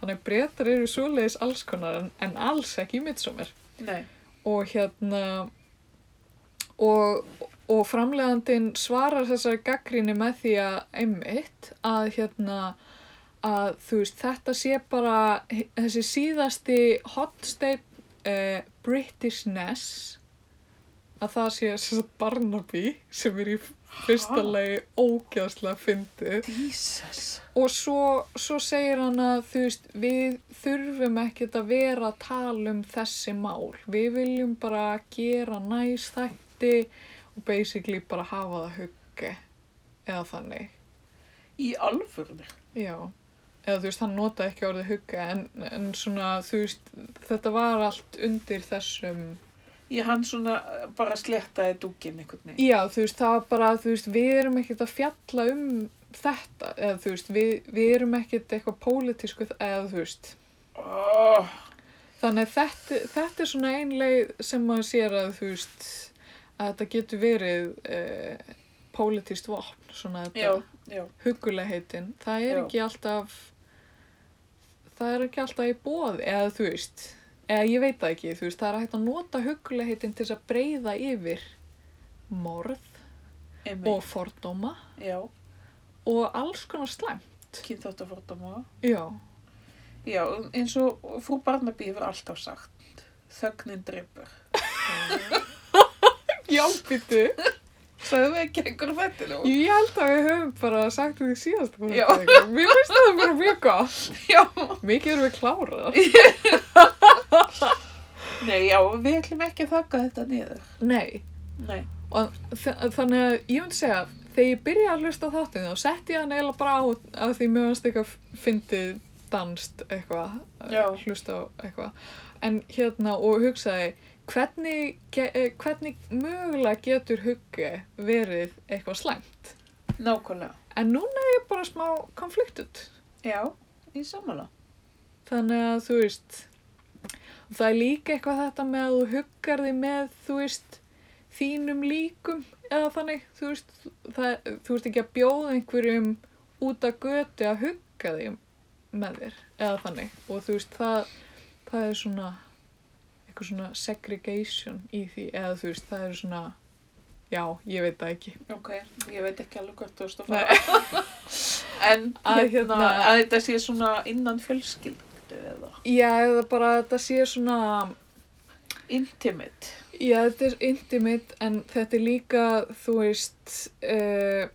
S1: þannig að brettar eru svoleiðis alls konar en, en alls ekki í midsommar
S2: Nei,
S1: og hérna og, og framlegandin svarar þessari gaggrinni með því að einmitt að hérna að þú veist þetta sé bara þessi síðasti hotstein eh, Britishness að það sé þess að Barnaby sem er í fyrsta
S2: Ha?
S1: lagi ógeðslega fyndið
S2: Jesus.
S1: og svo, svo segir hann að þú veist, við þurfum ekkert að vera að tala um þessi mál. Við viljum bara gera næs þætti og basically bara hafa það hugge eða þannig.
S2: Í alvörni.
S1: Já. Eða þú veist, hann notaði ekki orðið hugge en, en svona, þú veist, þetta var allt undir þessum
S2: Ég hann svona eh, bara slettaði dúkinn einhvern veginn.
S1: Já, þú veist, það var bara, þú veist, við erum ekkert að fjalla um þetta, eða þú veist, við, við erum ekkert eitthvað pólitísku, eða þú veist,
S2: Oh,
S1: Þannig að þetta, þetta er svona ein leið sem maður sér að þú veist að þetta getur verið eh, pólitíst vopn, svona
S2: já,
S1: þetta
S2: já.
S1: hugulegheitin. Það er
S2: Já.
S1: ekki alltaf það er ekki alltaf í bóð eða þú veist, eða ég veit það ekki þú veist, það er hægt að nota hugulegheitin til þess að breyða yfir morð
S2: Einmitt.
S1: og fordóma
S2: Já,
S1: og alls konar slæm.
S2: kynþáttafordóma.
S1: Já,
S2: Já, um, eins og frú Barnaby hefur alltaf sagt. Þögnin dreipur.
S1: já, býttu.
S2: Sæðum við ekki einhver fættir nú?
S1: Ég held að við höfum bara sagt því síðast hvað
S2: Já.
S1: þetta er. Mér finnst það bara mjög gott.
S2: Já.
S1: Mikið erum við klárað.
S2: Nei, já, við ætlum ekki að þakka þetta niður.
S1: Nei.
S2: Nei.
S1: Og þ- þannig að ég myndi segja, þegar ég byrjaði að hlusta á þáttinn þá setti ég hann eiginlega bara á að því mjög hans eitthvað fyndið danst eitthvað, að
S2: Já.
S1: hlusta á eitthvað. En hérna og hugsaði, hvernig, ge- eh, hvernig mögulega getur hugge verið eitthvað slæmt?
S2: Nákvæmlega.
S1: En núna er ég bara smá konfliktuð.
S2: Já, í samanlega.
S1: Þannig að þú veist, það er líka eitthvað þetta með að þú huggar þig með, þú veist, þínum líkum eða þannig, þú veist, það, þú veist ekki að bjóða einhverjum út að götu að hugga þig með þér eða þannig og þú veist, það, það er svona eitthvað svona segregation í því eða þú veist, það er svona, já, ég veit það ekki.
S2: Ok, ég veit ekki alveg hvert þú veist að
S1: Nei.
S2: fara. en
S1: Að
S2: að,
S1: hérna-
S2: hérna, að þetta sé svona innan fjölskyldu eða
S1: Já, eða bara að þetta sé svona...
S2: intimate.
S1: Já, þetta er intimate en þetta er líka, þú veist, uh,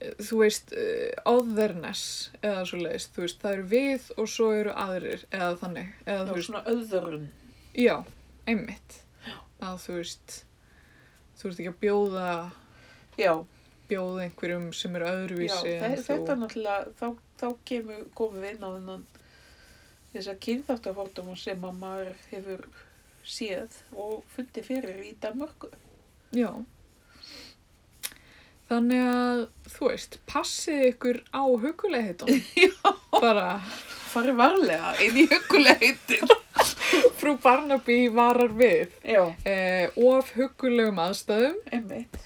S1: þú veist, uh, otherness eða svo leiðist, þú veist, það eru við og svo eru aðrir eða þannig, eða
S2: Já,
S1: þú veist,
S2: svona öðrun.
S1: já, einmitt, að þú veist, þú ert ekki að bjóða,
S2: Já,
S1: bjóða einhverjum sem er
S2: já
S1: öðruvísi
S2: þe-
S1: en
S2: þetta
S1: þú.
S2: náttúrulega, þá, þá kemur, komum við inn á þennan þess að kynþáttafórdóma sem að maður hefur séð og fundi fyrir í Danmörku.
S1: Já. Þannig að, þú veist, passið ykkur á hugulegheitum. Já. Bara,
S2: Farið varlega inn í huguleitin.
S1: frú Barnaby varar við.
S2: Já,
S1: Eh, of hugulegum aðstæðum
S2: einmitt.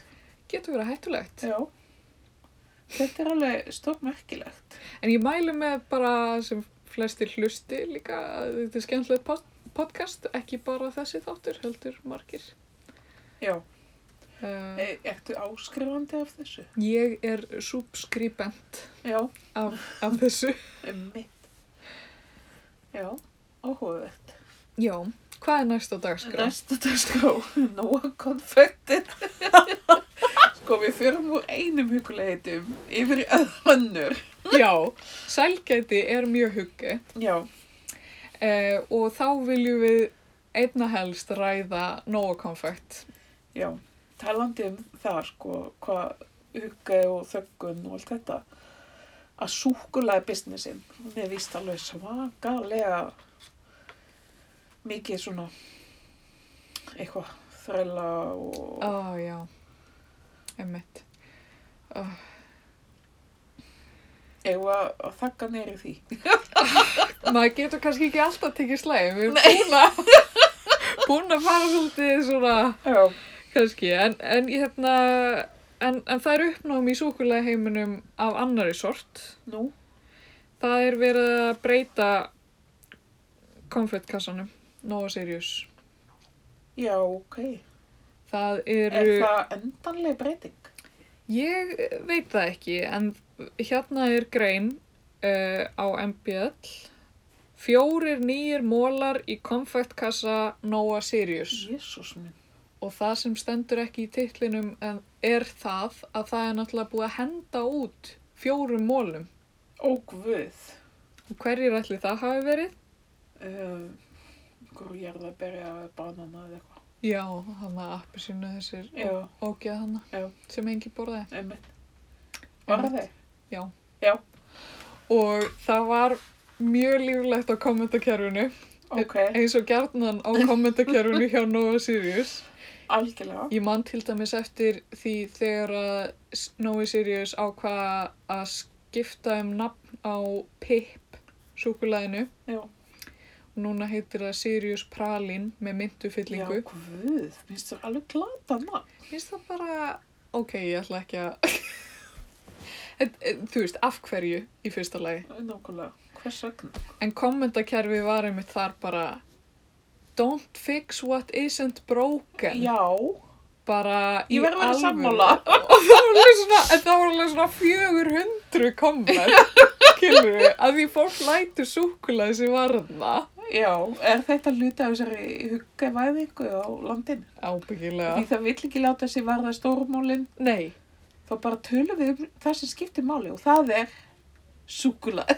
S1: getur verið hættulegt.
S2: Já. Þetta er alveg stórmerkilegt.
S1: En ég mælu með bara sem flestir hlusti líka, að þetta er skemmtilegt pod- podcast, ekki bara þessi þáttur, heldur margir.
S2: Já.
S1: Uh,
S2: E, ertu áskrifandi af þessu?
S1: ég er subskribent
S2: Já.
S1: af, af þessu.
S2: Mitt. Já. Áhugavert.
S1: Já, hvað er næst á dagskrá?
S2: Næsta dagskrá. Nóa konfettin. sko, við fyrum úr einum hugulegitum yfir í öðvannur.
S1: Já, sælgæti er mjög hugge
S2: Já.
S1: uh, og þá viljum við einna helst ræða nóa konfekt.
S2: Já. Talandi um það, sko, hvað huggaði og þöggun og allt þetta. Að súkulega businessin, hún er víst alveg svakalega mikið svona eitthvað þræla og...
S1: Ó, já, emmitt.
S2: Eða að þakka neyri því.
S1: Maður getur kannski ekki alltaf tekið slæðið, við erum búin að, búin að fara svolítið svona...
S2: Já.
S1: kannski, en, en ég hérna en, en það er uppnáum í súkulega heiminum af annari sort
S2: Nú,
S1: það er verið að breyta konfettkassanum Nova Sirius
S2: já, ok.
S1: það
S2: Er
S1: eru,
S2: það endanlega breyting?
S1: ég veit það ekki en hérna er grein uh, á MBL fjórir nýjir mólar í konfettkassa Nova Sirius
S2: Jésús minn.
S1: og það sem stendur ekki í titlinum en er það að það er náttúrulega búið að henda út fjórum mólum.
S2: Ó, guð.
S1: Og hverjir ætli það hafi verið?
S2: Uh, Hvor jarðaberi að banana eða eitthvað.
S1: Já, hann að appi sínu þessir
S2: Já,
S1: ógæð
S2: Já.
S1: hann sem engi borðaði.
S2: einmitt. Var það?
S1: Og það var mjög líflegt á kommentakerfinu,
S2: Ok,
S1: eins og gjarnan á kommentakerfinu hjá Nova Sirius.
S2: algjörlega.
S1: Ég man til dæmis eftir því þegar að Nova Sirius ákvað að skipta um nafn á Pip súkulæðinu.
S2: Já.
S1: Núna heitir það Sirius Pralin með myndufyllingu.
S2: Já, guð, minnst þú alveg glata nafn.
S1: Finnst það bara, ok, ég ætla ekki að... En, en, Þú veist, af hverju í fyrsta lagi.
S2: Nákvæmlega, hvers vegna?
S1: En kommentakerfi var einmitt þar bara Don't fix what isn't broken.
S2: Já,
S1: Bara í
S2: ég verður að vera
S1: alvöru.
S2: sammála.
S1: Og það var alveg svona, en það var alveg svona 400 komment, kilur við, að því fólk lætur súkulega sem var þarna.
S2: Já, er þetta hluti af þessari huggavæðingu á landinu?
S1: Ábyggilega.
S2: Því það vill ekki láta sér varða stórmólin,
S1: Nei,
S2: þá bara tölum við um það sem skiptir máli og það er súkulag.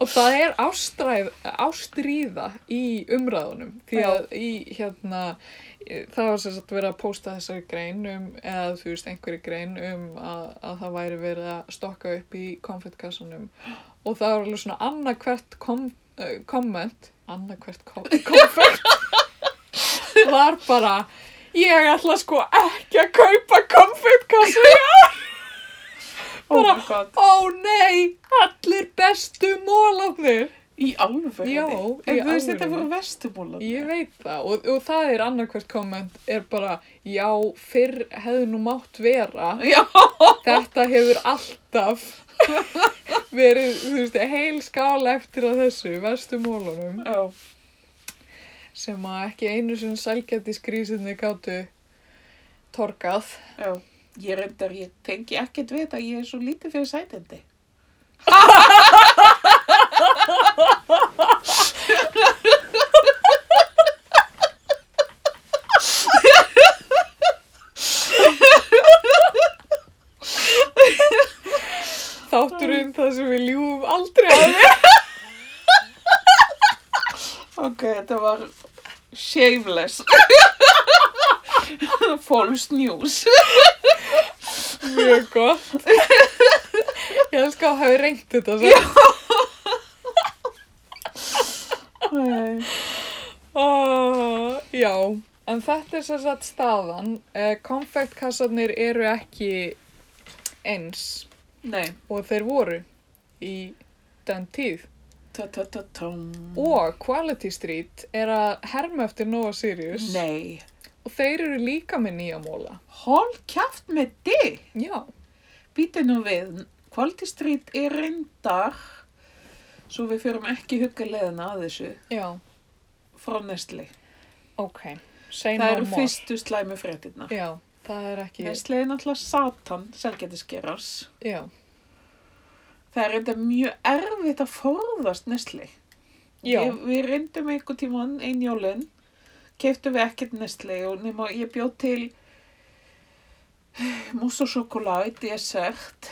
S1: Og það er ástræð, ástríða í umræðunum því að í hérna e, það var sem sagt verið að pósta þessari grein um, eða þú veist einhverju grein um að, að það væri verið að stokka upp í konfettkassanum og það var alveg svona annarkvert kom, uh, komment annarkvert kom, konfett var bara ég ætla sko ekki að kaupa konfettkassu
S2: Oh
S1: Bara-
S2: my god.
S1: ó nei, allir bestu mólarnir
S2: Í alveg.
S1: Já, í
S2: En þú veist þetta
S1: alvörunni.
S2: voru vestumólan.
S1: Ég veit það og, og það er annarkvært komment er bara já fyrr hefði nú mátt vera
S2: Já,
S1: þetta hefur alltaf verið þú veist, heil skála eftir að þessu vestu mólunum
S2: já,
S1: sem að ekki einu sinni sælgæti skrísinni gáttu torkað.
S2: já. Ég reyndar, ég tengi ekkert við þetta, ég er svo lítið fyrir sætindi.
S1: Þátturinn um það sem við ljúum aldrei að við.
S2: Ok, þetta var shameless. false news.
S1: Mjög gott. Ég elska að hafa reynt þetta svo.
S2: Nei.
S1: Ah, já, en þetta er sem sagt staðan. Eh, Konfektkassanir eru ekki eins
S2: Nei.
S1: og þeir voru í den tíð.
S2: Ta ta ta tom.
S1: Og Quality Street er að herma eftir Nova Sirius
S2: Nei.
S1: og þeir eru líka með nýja móla.
S2: Hól kjátt með þig.
S1: Já,
S2: Býta nú við. Quality Street er reyndar, svo við fyrum ekki hugga leiðina að þessu,
S1: já,
S2: frá Nestle.
S1: ok. Say
S2: Það
S1: no
S2: eru
S1: more.
S2: fyrstu slæmu fréttina.
S1: Já, það er ekki,
S2: Nestle er náttúrulega satan, selgetiskerars.
S1: já,
S2: Það er reynda mjög erfitt að forðast nesli.
S1: já,
S2: Ég, við reyndum einhver tíman einn jólinn, keiftum við ekkert nesli og nema ég bjóð til mousse og sjokolade, dessert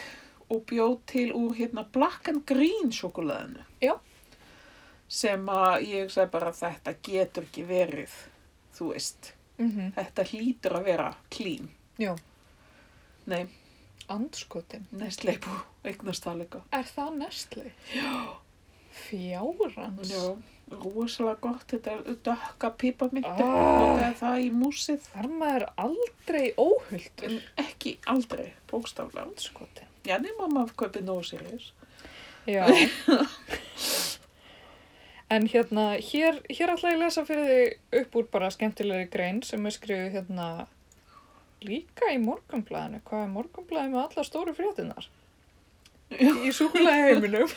S2: og bjóð til úr hérna black and green sjokolaðinu.
S1: Já.
S2: Sem að ég sagði bara þetta getur ekki verið, þú veist.
S1: mhm,
S2: Þetta hlýtur að vera clean.
S1: já,
S2: Nei,
S1: andskotin.
S2: nesli er búið að eignast það líka.
S1: Er það Nestle? Já. Fjárans?
S2: Já, rosalega gott, þetta er dökka pípamyndu,
S1: Ah.
S2: notaði það í músið,
S1: Þar maður aldrei óhulltur.
S2: en ekki aldrei, bókstaflega.
S1: Andskotin.
S2: Já, nema maður kaupið nóg sérius.
S1: Já. En hérna, hér, hér ætla ég að lesa fyrir þig upp úr bara skemmtilegri grein sem er skrifið hérna líka í morgunblæðinu. Hvað er morgunblæði með alla stóru fréttinnar? Í súkulega heiminum.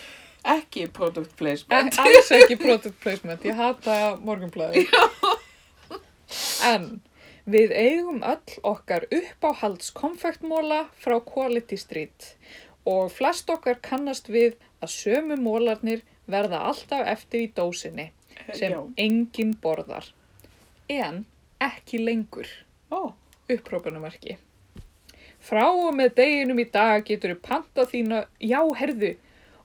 S2: Ekki product
S1: En
S2: placement.
S1: alls ekki product placement, ég hata morgunblæði. En við eigum öll okkar uppáhalds konfektmóla frá Quality Street og flest okkar kannast við að sömu mólarnir verða alltaf eftir í dósinni Eh, sem
S2: Já,
S1: enginn borðar. En ekki lengur
S2: ó,
S1: upprópunamarki. Frá og með deginum í dag getur þú panta þína, já, herðu,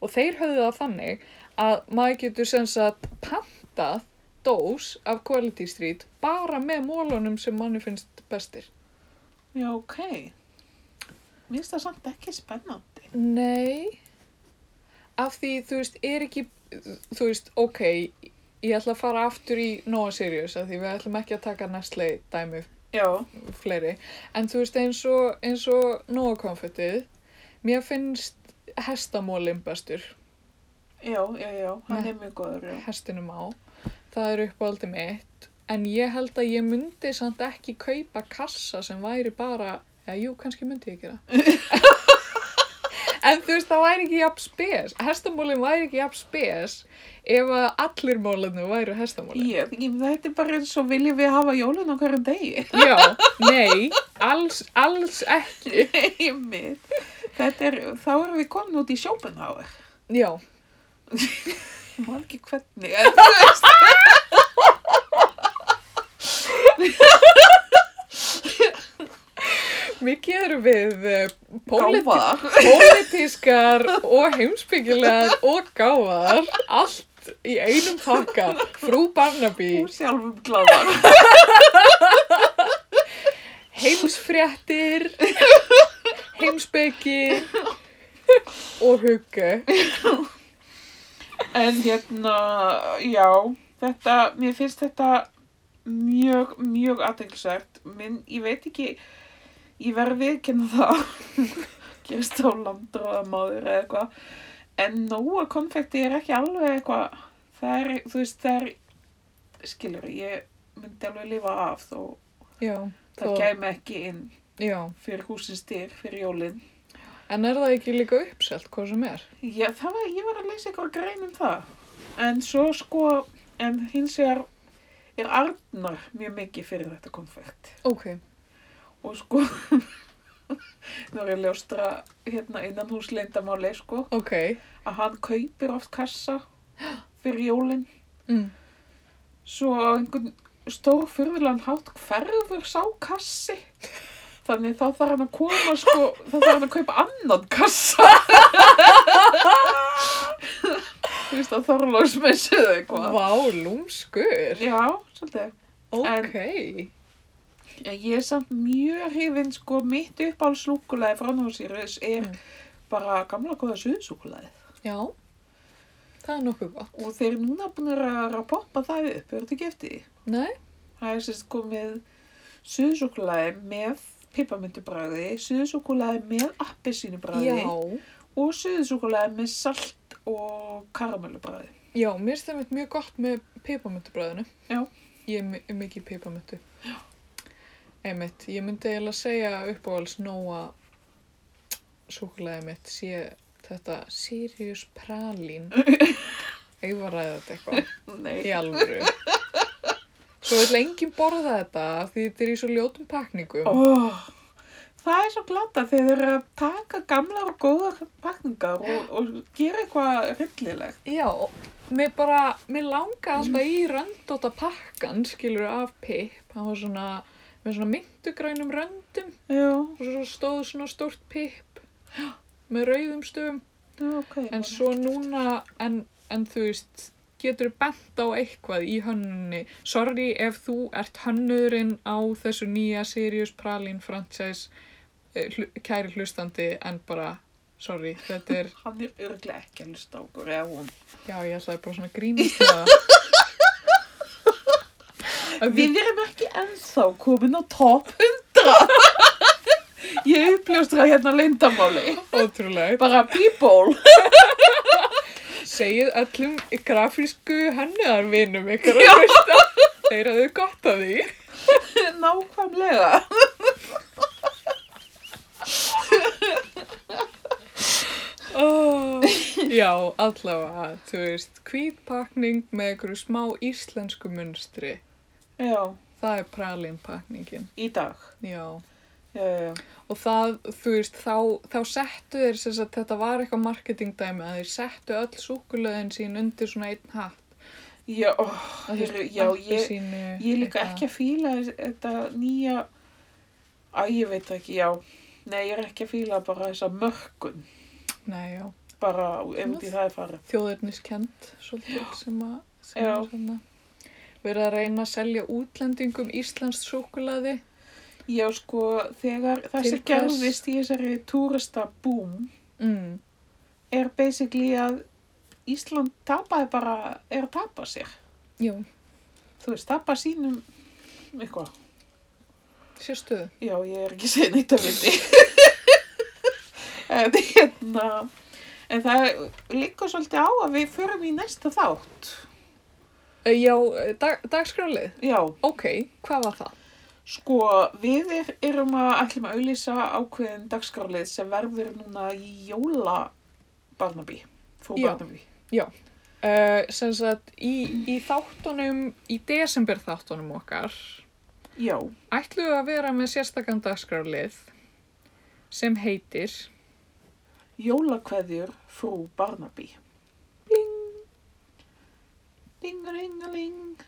S1: og þeir höfðu það þannig að maður getur sem sagt pantað dós af Quality Street bara með mólunum sem manni finnst bestir.
S2: já, ok. Mér finnst það samt ekki spennandi.
S1: Nei, af því þú veist, er ekki, þú veist, ok, ég ætla að fara aftur í Noah Sirius af því við ætlum ekki að taka Nestle dæmi
S2: Já,
S1: fleiri en þú veist eins og, eins og nóga konfettið mér finnst hestamólin bestur
S2: já, já, já, hann
S1: Nei.
S2: er mjög góður, já.
S1: hestinum á, það er uppáldið mitt en ég held að ég myndi samt ekki kaupa kassa sem væri bara, eða jú, kannski myndi ég gera en þú veist, það væri ekki jafn spes hestamólin væri ekki jafn spes ef að allir mólinu væri hestamólin
S2: Ég, ég, þetta er bara eins og viljum við hafa jólun á hverju degi.
S1: já, nei, alls, alls ekki
S2: Einmitt. Þetta er, þá erum við komin út í sjópenháður.
S1: já,
S2: Ég man ekki hvernig, en þú veist.
S1: Mikið eru við eh, póliti-
S2: Gáfaðar.
S1: pólitískar og heimsbyggilegar og gáðar allt í einum pakka frú Barnaby,
S2: Úr sjálfum gláðar.
S1: heimsfréttir heimsbyggi og hugge
S2: En hérna, já, þetta, mér finnst þetta mjög, mjög aðeinsvært, minn, ég veit ekki, ég verði viðkynna það, gerist á landráðamáður eða eitthvað, en nóa konfekti er ekki alveg eitthvað, það er, þú veist, það er, skilur, ég myndi alveg lifa af þó,
S1: já,
S2: það
S1: þó-
S2: kæmi ekki inn
S1: já,
S2: fyrir húsins dyr, fyrir jólinn.
S1: en er það ekki líka uppselt hvað sem er
S2: Já, það var, ég var að lesa eitthvað grein um það. En svo sko, en hins vegar er Arnar mjög mikið fyrir þetta konfekt.
S1: ok,
S2: Og sko, nú er ég að ljóstra hérna innan hús leyndamáli, sko,
S1: ok
S2: að hann kaupir oft kassa fyrir jólinn.
S1: mm.
S2: Svo á einhvern stór fyrirlan hátt hverfur sá kassi. Þannig þá þarf hann að koma, sko, þá þarf hann að kaupa annan kassa. Þú veist að Þorlóksmessu eða eitthvað.
S1: vá, lúmskur
S2: Já, svolítið.
S1: ok,
S2: Já, ég er samt mjög hrifin, sko, mitt uppáhaldslúkulaði frá Nósýrus er
S1: Mm.
S2: bara gamla góða suðsúkulaði.
S1: Já, það er nokkuð gott.
S2: Og þeir eru núna búinir að, að poppa það upp, eru þetta ekki eftir því?
S1: Nei,
S2: Það er sérst komið suðsúkulaði með pippamöndubræði, suðsúkulaði með appelsínubræði
S1: já.
S2: og suðsúkulaði með salt og karamellubræði.
S1: Já, mér finnst það mitt mjög gott með pipamöntubræðinu.
S2: Já.
S1: Ég er mi- er mikið pipamöntu. Já. Einmitt, ég myndi eiginlega segja uppáhalds nóa súkulega mitt sé þetta Sirius Pralín. Ég var að ræða þetta eitthvað
S2: Nei,
S1: í alvöru. Svo vill enginn borða þetta af því þetta er í svo ljótum pakningum.
S2: Ó, það er svo glata þegar þeir eru að taka gamlar og góðar pakningar og, og gera eitthvað rillilegt.
S1: Já, og mér bara, mér langa alltaf í röndóta pakkan, skilur af pipp. Hann var svona, með svona myndugrænum röndum
S2: Já,
S1: og svo stóð svona stórt pipp með rauðum stöfum.
S2: já, ok.
S1: En svo núna, en, en þú veist, getur bent á eitthvað í hönnunni. Sorry ef þú ert hönnurinn á þessu nýja Sirius Pralin franchise, eh, hlu, kæri hlustandi, en bara, sorry, þetta er,
S2: Hann er örglega ekki að hlusta á okkur eða hún.
S1: já, ég ætlaði bara svona að grínast með það. Að því-
S2: Við erum ekki ennþá komin á top 100. Ég uppljóstra hérna leindamáli.
S1: Ótrúlega.
S2: Bara people.
S1: Segið öllum grafísku hannuðarvinum ykkur að hlusta. Þeir hafðu gott af því.
S2: Nákvæmlega.
S1: Oh, já, allavega, þú veist, hvítpakning með einhverju smá íslensku munstri.
S2: Já,
S1: Það er pralinpakningin,
S2: í dag.
S1: já.
S2: Já, já.
S1: Og það, þú veist, þá, þá settu þeir, sem sagt, þetta var eitthvað marketingdæmi, að þeir settu öll súkulöðin sín undir svona einn hatt.
S2: Já, ó,
S1: Að þú veist,
S2: já ég,
S1: appelsínu,
S2: Ég er líka
S1: eitthvað.
S2: ekki að fíla þess- þetta nýja, að ég veit það ekki, já, nei ég er ekki að fíla bara þessa mörkun,
S1: Nei, já,
S2: bara ef út í það er farið.
S1: þjóðerniskend, svolítið, sem að, sem
S2: Já.
S1: að, sem að, verið að reyna að selja útlendingum íslenskt súkulöði.
S2: Já, sko, þegar það
S1: Til
S2: sem
S1: hvers?
S2: gerðist í þessari túrista boom
S1: Mm,
S2: er basically að Ísland tapaði bara, er að tapa sér.
S1: jú,
S2: Þú veist, tapa sínum, eitthvað,
S1: sérstuðu.
S2: já, ég er ekki að segja neitt að viti. en hérna, en það liggur svolítið á að við förum í næsta þátt.
S1: Eh, Já, eh, dag, dagskrálið.
S2: Já,
S1: Ok, hvað var það?
S2: Sko, við er, erum að ætlum að auðlýsa ákveðin dagskrálið sem verður núna í jóla Barnaby, frú
S1: Já.
S2: Barnaby.
S1: Uh, sem sagt, í, í þáttunum, í desember þáttunum okkar,
S2: Já,
S1: ætlum við að vera með sérstakann dagskrálið sem heitir
S2: jólakveðjur frú Barnaby. Bling! Ding-a-ling-a-ling.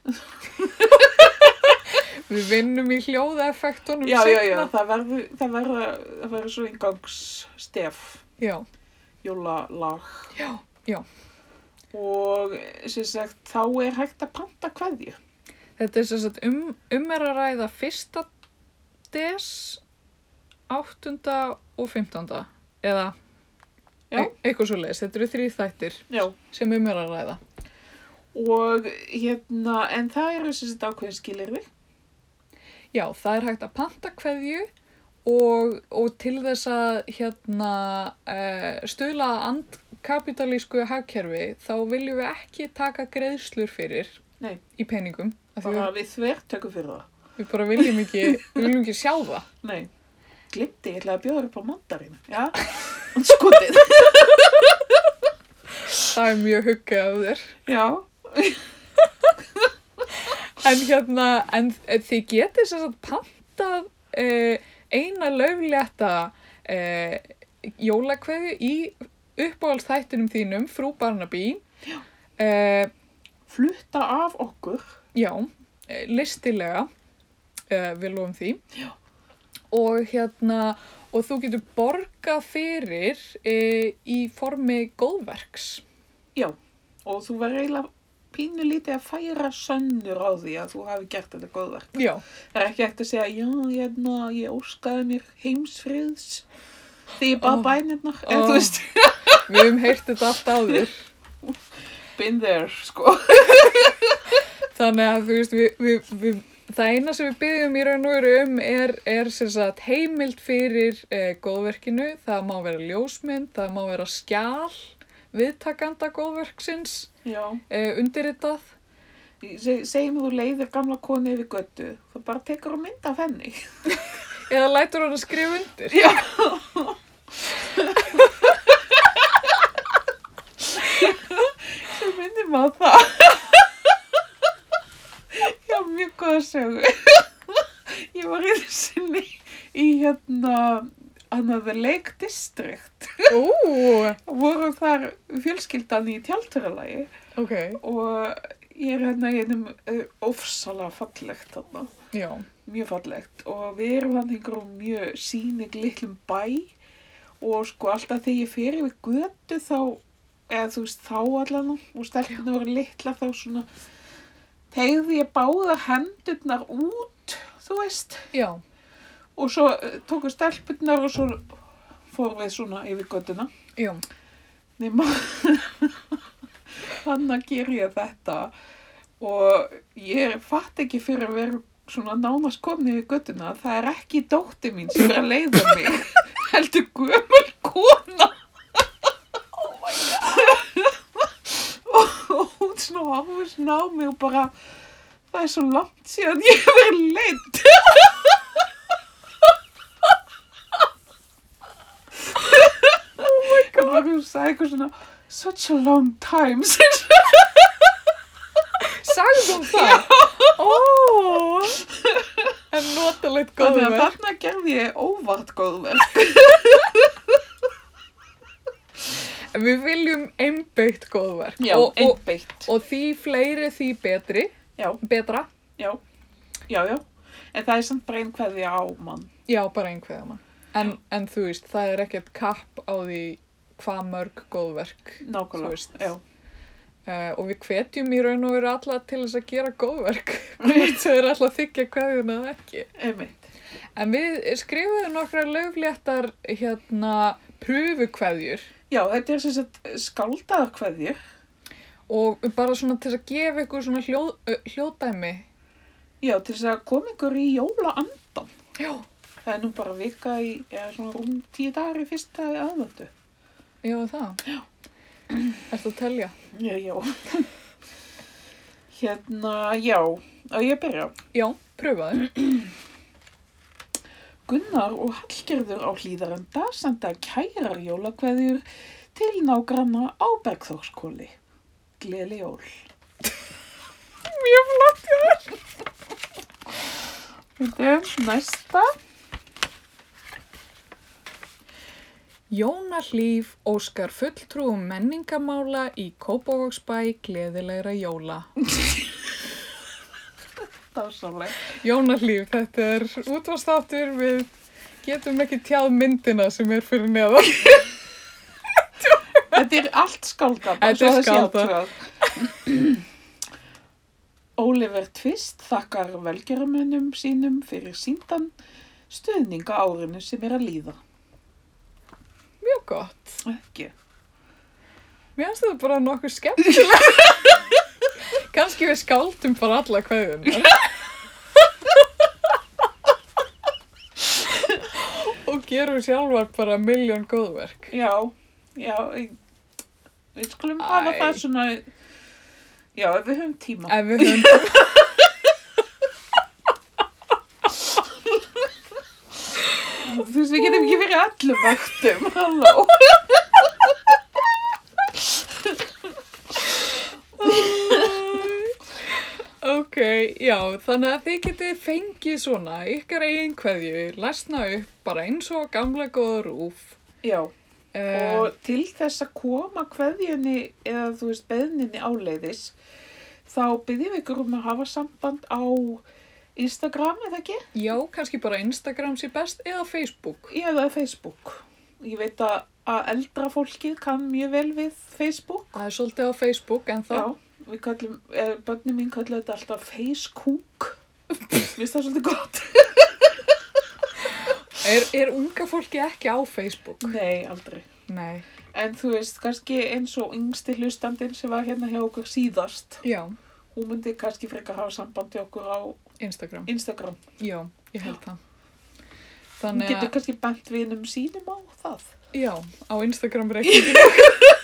S1: Við vinnum í hljóðaeffektunum
S2: Já, já, já,
S1: seinna.
S2: það verður, það verður, það verður svo eingangsstef,
S1: Já,
S2: jólalag.
S1: já, já.
S2: Og sem sagt, þá er hægt að panta kveðju.
S1: Þetta er sem sagt um, um er að ræða fyrsta des, áttunda og fimmtanda. Eða
S2: Já.
S1: e eitthvað svo leiðis. Þetta eru þrý þættir
S2: Já.
S1: sem um er að ræða.
S2: Og hérna, en það eru sem sagt ákveðin skilirði.
S1: Já, það er hægt að panta kveðju og, og til þess að hérna, uh, stuðla að andkapitalísku hagkerfi þá viljum við ekki taka greiðslur fyrir
S2: Nei.
S1: í peningum. af því
S2: bara við þvertökum fyrir það.
S1: Við, við bara viljum ekki, við viljum ekki sjá það.
S2: Nei. Glimti, ég ætlaði að bjóða þér upp á mandarínu. Já, skotið.
S1: Það er mjög huggað af þér.
S2: Já,
S1: En hérna, en þið getið sem sagt pantað uh, eina löflétta uh, jólakveðju í uppáhaldstættinum þínum, frú Barnaby. Eh, Já.
S2: flutta af okkur.
S1: Já, eh, listilega, uh, við lofum því. Já. Og hérna, og þú getur borgað fyrir uh, í formi góðverks.
S2: Já, og þú verður eiginlega pínu lítið að færa sönnur á því að þú hafi gert þetta góðverk.
S1: Já,
S2: Það er ekki eftir að segja, já, hérna, ég óskaði mér heimsfriðs því ég bað
S1: Ó.
S2: bænirnar, eða
S1: Ó.
S2: þú veist,
S1: við höfum heyrt þetta allt áður.
S2: been there, sko.
S1: Þannig að þú veist, við, við, við, það eina sem við byggjum í raun og veru um er, er sem sagt heimild fyrir eh, góðverkinu, það má vera ljósmynd, það má vera skjál viðtakanda góðverksins
S2: Já,
S1: eh, undirritað.
S2: Se, segjum þú leiðir gamla konu yfir göttu, þá bara tekur þú mynd af henni.
S1: Eða lætur hann að skrifa undir.
S2: Já. Svo myndir maður það. Já, mjög góða sögu. Ég var í sinni í hérna, hann að The Lake District.
S1: Ú,
S2: Voru þar fjölskyldan í tjalduralagi
S1: ok,
S2: og ég er hérna í einum uh, ofsala fallegt þarna
S1: já,
S2: mjög fallegt og við erum hann einhverjum mjög sínig litlum bæ og sko alltaf þegar ég fer yfir götu þá eða þú veist þá allan og stelpunum voru litla þá svona tegði ég báða hendurnar út þú veist
S1: já,
S2: og svo eh, tóku stelpunnar og svo fórum við svona yfir götuna
S1: já,
S2: nema hann að gera ég þetta og ég fatt ekki fyrir að vera svona nánast komni við göttuna það er ekki dótti mín sem er að leiða mig heldur gömul kona oh og hún svona hafði svona á mig og bara það er svo langt síðan ég hef verið leitt og bara hún sagði eitthvað svona such a long time since
S1: sagðum um það. Ó, en notalegt
S2: Þannig að
S1: góðverk.
S2: þarna gerði ég óvart góðverk.
S1: En Við viljum einbeitt góðverk og, og,
S2: einbeitt.
S1: og því fleiri því betri,
S2: Já,
S1: betra,
S2: já, já, já. En það er samt bara einn hverði á mann.
S1: já bara einhverja mann. En, en þú veist, það er ekkert kapp á því hvað mörg góðverk Þú
S2: Nákvæmlega.
S1: veist.
S2: Já,
S1: uh, og við hvetjum í raun og veru alla til þess að gera góðverk hvort þau eru alltaf þykja kveðuna eða ekki.
S2: einmitt.
S1: En við skrifuðum nokkra lögléttar hérna pröfukveðjur
S2: Já, þetta er sem sagt skáldaðar hverðir.
S1: og bara svona til þess að gefa ykkur svona hljóð, ö, hljóðdæmi.
S2: Já, til þess að koma ykkur í jólaandan.
S1: Já.
S2: Það er nú bara vika í, eða svona rúm tíu dagar í fyrsta aðvöndu.
S1: Já, það. Já. Ertu að telja?
S2: Já, já. hérna, já, og ég að byrja.
S1: Já, pröfaðu.
S2: Gunnar og Hallgerður á hlýðarenda senda kærar jólakveðjur til nágranna á Bergþórskóli. Gleðli jól.
S1: Mjög flott hjá þér.
S2: Þetta næsta.
S1: Jóna Hlíf óskar fulltrúum menningamála í Kópavogsbæ gleðilegra jóla.
S2: Dásamleg.
S1: Jóna Hlíf, þetta er útvastáttur við getum ekki tjáð myndina sem er fyrir neðan.
S2: Þetta er allt skáldað. bara
S1: Þetta er
S2: svo það sé
S1: skáldað.
S2: átvegað. Oliver Twist þakkar velgerumennum sínum fyrir síndan stuðninga árinu sem er að líða.
S1: Mjög gott.
S2: Ekki.
S1: Mér finnst þetta bara nokkuð skemmtilega. Kanski við skáltum bara alla kveðunar. og gerum sjálfar bara miljón góðverk.
S2: Já, já, ég- við skulum hafa
S1: Æ.
S2: það svona, já, ef við höfum tíma.
S1: Ef við höfum...
S2: Þú veist, við getum ekki verið allum vaktum, halló.
S1: Ok, já, þannig að þið getið fengið svona ykkar eigin kveðju, læsna upp bara eins og gamla góða rúf.
S2: Já,
S1: Uh,
S2: og til þess að koma kveðjunni eða þú veist beðninni áleiðis, þá byggjum við ykkur um að hafa samband á Instagram eða ekki,
S1: já, kannski bara Instagram sé best eða Facebook.
S2: eða Facebook. Ég veit að, að eldra fólkið kann mjög vel við Facebook.
S1: Það er svolítið á Facebook en þá,
S2: Já, við kallum, eh, bönni mín kallar þetta alltaf face cook. Mér finnst það svolítið gott.
S1: Er, er unga fólki ekki á Facebook?
S2: Nei, aldrei.
S1: Nei.
S2: En þú veist, kannski eins og yngsti hlustandinn sem var hérna hjá okkur síðast,
S1: Já,
S2: hún myndi kannski frekar hafa sambandi okkur á
S1: Instagram.
S2: Instagram.
S1: Já, ég held það.
S2: Hún
S1: Þannig
S2: getur
S1: að,
S2: kannski bent vinum sínum á það.
S1: já, á Instagram reikninginu.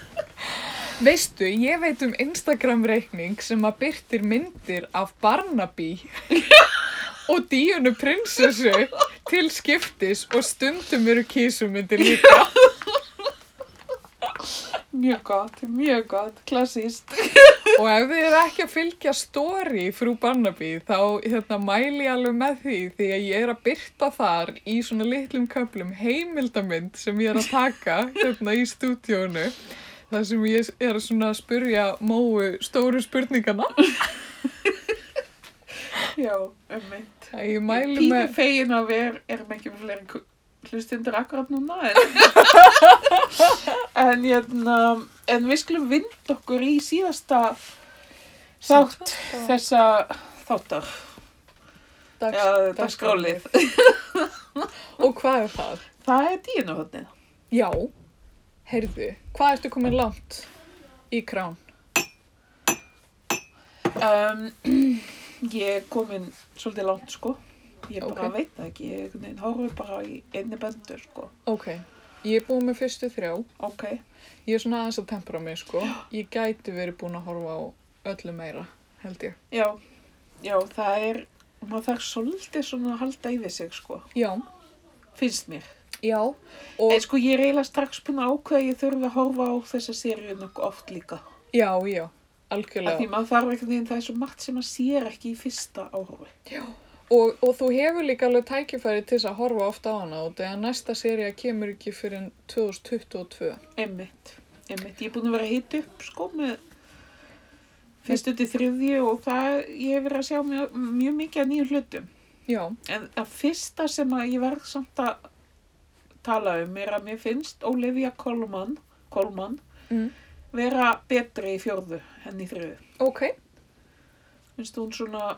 S1: Veistu, ég veit um Instagram reikning sem að byrtir myndir af Barnaby og Díunu prinsessu til skiptis og stundum eru kísumyndir líka.
S2: Mjög gott, mjög gott, klassist.
S1: Og ef þið eru ekki að fylgja story frú Barnaby þá hérna, mæli ég alveg með því því að ég er að byrta þar í svona litlum köflum heimildamynd sem ég er að taka hérna í stúdíónu þar sem ég er að svona spurja móu stóru spurningana.
S2: Já, ummitt.
S1: Það ég mæli
S2: Pínu
S1: með,
S2: fegin að við er, erum ekki með fleiri ku- hlustendur akkurat núna. En, en, hérna, en við skulum vinda okkur í síðasta þátt þessa þáttar.
S1: dags,
S2: Já, dagskrálið.
S1: Og hvað er það?
S2: Það er díunuhotnið.
S1: Já, heyrðu, hvað ertu komin langt í krán?
S2: Um, ég er komin svolítið langt sko. Ég bara
S1: Ok.
S2: veit það ekki, ég einhvern veginn horfið bara í einni bendur sko.
S1: Ok, ég er búin með fyrstu þrjá.
S2: Ok,
S1: Ég er svona aðeins að tempra mig, sko. Ég gæti verið búin að horfa á öllu meira, held ég.
S2: já, já það er, maður þarf svolítið svona að halda yfir sig sko,
S1: Já,
S2: finnst mér.
S1: já.
S2: En
S1: Og,
S2: sko ég er eiginlega strax búin að ákveða að ég þurfi að horfa á þessa seríu nokkuð oft líka.
S1: já, já,
S2: sko- Af því
S1: algjörlega.
S2: maður þarf einhvern veginn, það er svo margt sem maður sér ekki í fyrsta áhorfi.
S1: Og, og þú hefur líka alveg tækifæri til þess að horfa ofta á hana og þegar næsta seria kemur ekki fyrir 2022.
S2: Einmitt, einmitt. Ég er búin að vera að hita upp sko með fyrstu til þriðju og það, ég hef verið að sjá mjög, mjög mikið að nýjum hlutum.
S1: Já,
S2: En það fyrsta sem að ég verð samt að tala um er að mér finnst Olivia Colman, Colman
S1: Mm.
S2: vera betri í fjórðu en í þriðju.
S1: ok.
S2: Finnst hún svona,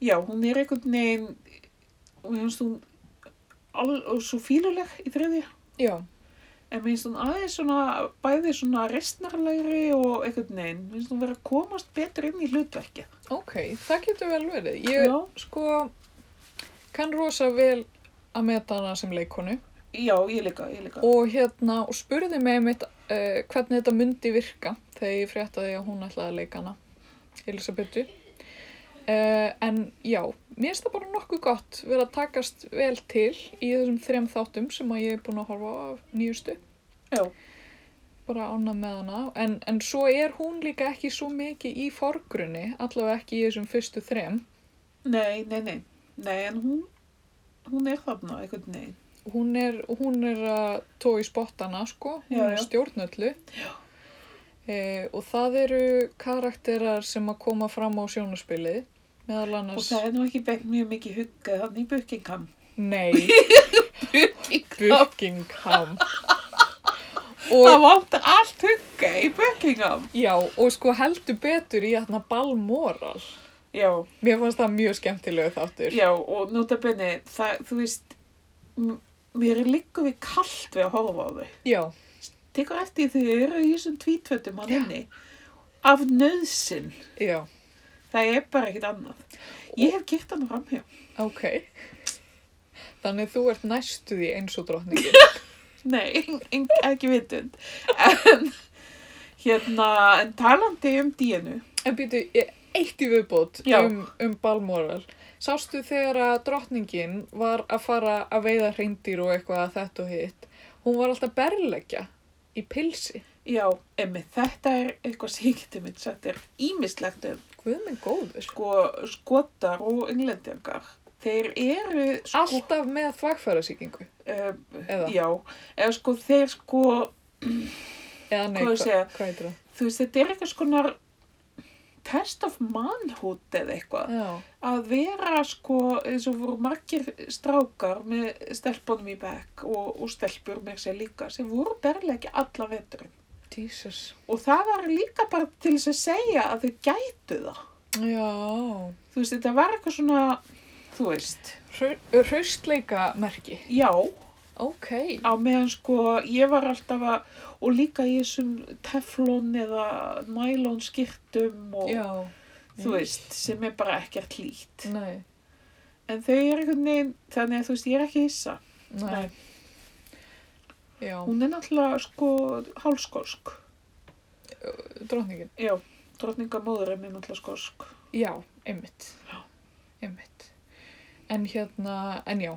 S2: já hún er einhvern veginn, mér finnst hún al, svo fíluleg í þriðju.
S1: Já,
S2: En minnst hún aðeins svona, bæði svona restnarlegri og einhvern veginn, minnst hún vera að komast betur inn í hlutverkið.
S1: ok. Það getur vel verið. Ég,
S2: Já.
S1: sko, kann rosa vel að meta hana sem leikonu
S2: Já, ég líka, ég líka.
S1: og hérna, og spurði mig mitt uh, hvernig þetta myndi virka þegar ég fréttaði að hún ætlaði að leika hana Elisabethu uh, en já, mér finnst það bara nokkuð gott verið að takast vel til í þessum þrem þáttum sem að ég er búin að horfa á af nýjustu
S2: Já,
S1: bara ánað með hana en, en svo er hún líka ekki svo mikið í forgrunni, allavega ekki í þessum fyrstu þrem
S2: nei, nei, nei, nei, en hún, hún er þarna einhvern veginn.
S1: hún er, hún er að tói spottana sko, hún
S2: Já,
S1: er
S2: já.
S1: stjórnöllu e, og það eru karakterar sem að koma fram á sjónaspilið meðal
S2: Og
S1: annars
S2: það er nú ekki beint mjög mikið huggað hann í Buckingham.
S1: nei,
S2: Buckingham?
S1: Buckingham
S2: Það
S1: og,
S2: vantar allt huggað í Buckingham.
S1: já, og sko heldur betur í þarna Balmoral
S2: Já,
S1: mér fannst það mjög skemmtilegu þáttur
S2: já, og notabenni, það, þú veist, m- mér er líka við kallt við að horfa á þau.
S1: já,
S2: tekur eftir því þau eru í þessum tvítvöldum hann inni af nöðsin
S1: já,
S2: það er bara ekkit annað ég hef kert hann framhjá
S1: ok þannig þú ert næstu því eins og drottningin
S2: nei, en, ekki vitund en hérna en talandi um díinu
S1: En býtu, ég- eitt í viðbót
S2: Já.
S1: um, um Balmoral. Sástu þegar að drottningin var að fara að veiða hreindir og eitthvað að þetta og hitt. Hún var alltaf berleggja í pilsi.
S2: já, emmi, þetta er eitthvað sem ég getur mitt þetta er ímislegt um
S1: Guð minn góður.
S2: sko, skotar og englendingar þeir eru sko,
S1: Alltaf með þvagfærasýkingu.
S2: um,
S1: Eða?
S2: já, eða sko þeir sko
S1: Eða nei,
S2: Hvað ég segja?
S1: hvað heitir það?
S2: þú veist, þetta er eitthvað skonar test of manhood eða eitthvað
S1: Já,
S2: að vera sko eins og voru margir strákar með stelpunum í bekk og, og stelpur með sér líka sem voru berlega ekki alla veturinn
S1: Jesus.
S2: Og það var líka bara til þess að segja að þau gætu það.
S1: Já.
S2: Þú veist, þetta var eitthvað svona, þú veist,
S1: Hraustleika merki.
S2: já,
S1: Ok.
S2: á meðan sko ég var alltaf að, og líka í þessum teflon eða nælon skirtum og
S1: Já.
S2: þú veist, sem er bara ekkert lít.
S1: Nei.
S2: En þau er einhvern veginn, þannig að þú veist, ég er ekki hissa.
S1: Nei. Já.
S2: Hún er náttúrulega sko hálskosk.
S1: Dróningin.
S2: Já, drottningamóður er mér náttúrulega skosk.
S1: Já, einmitt. Já. Einmitt. En hérna, en já.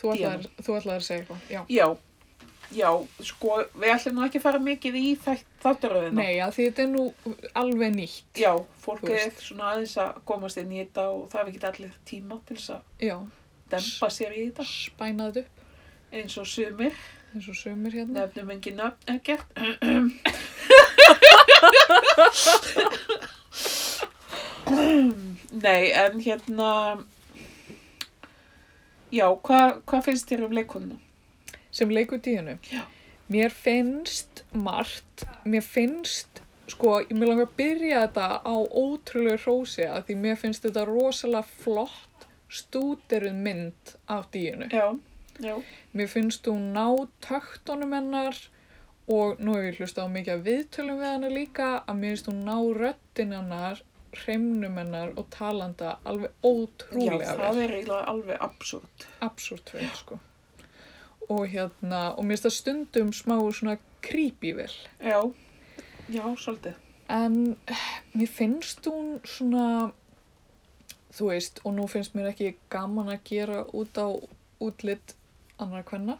S1: Þú ætlaðir, þú ætlaðir að segja eitthvað. Já.
S2: Já, já, sko, við ætlum nú ekki að fara mikið í þátturöðina.
S1: Nei, já, því þetta er nú alveg nýtt.
S2: Já, fólk
S1: Þú
S2: er
S1: veist.
S2: svona aðeins að komast inn í þetta og það er ekki allir tíma til þess að
S1: Já,
S2: dempa sér í þetta.
S1: spænaði þetta upp
S2: Eins og sumir,
S1: eins og sömur hérna.
S2: nefnum engin nöfn ekkert. Nei, en hérna, já, hvað hva finnst þér um leikonuna?
S1: sem leikur díðinu. Já. Mér finnst margt, mér finnst, sko, ég mér langar að byrja þetta á ótrúlegu hrósi að því mér finnst þetta rosalega flott stúderuð mynd af díðinu.
S2: Já, já,
S1: Mér finnst hún ná töktunum hennar og nú hef ég hlustað á mikið af viðtölum við hennar líka að mér finnst hún ná röttin hennar, hreimnum hennar og talanda alveg
S2: já,
S1: ótrúlega vel.
S2: það er eiginlega alveg absúrt.
S1: absúrt vel sko og hérna, og mér finnst það stundum smá svona creepy vel
S2: Já, já, svolítið.
S1: en eh, mér finnst hún svona þú veist, og nú finnst mér ekki gaman að gera út á útlit annar kvenna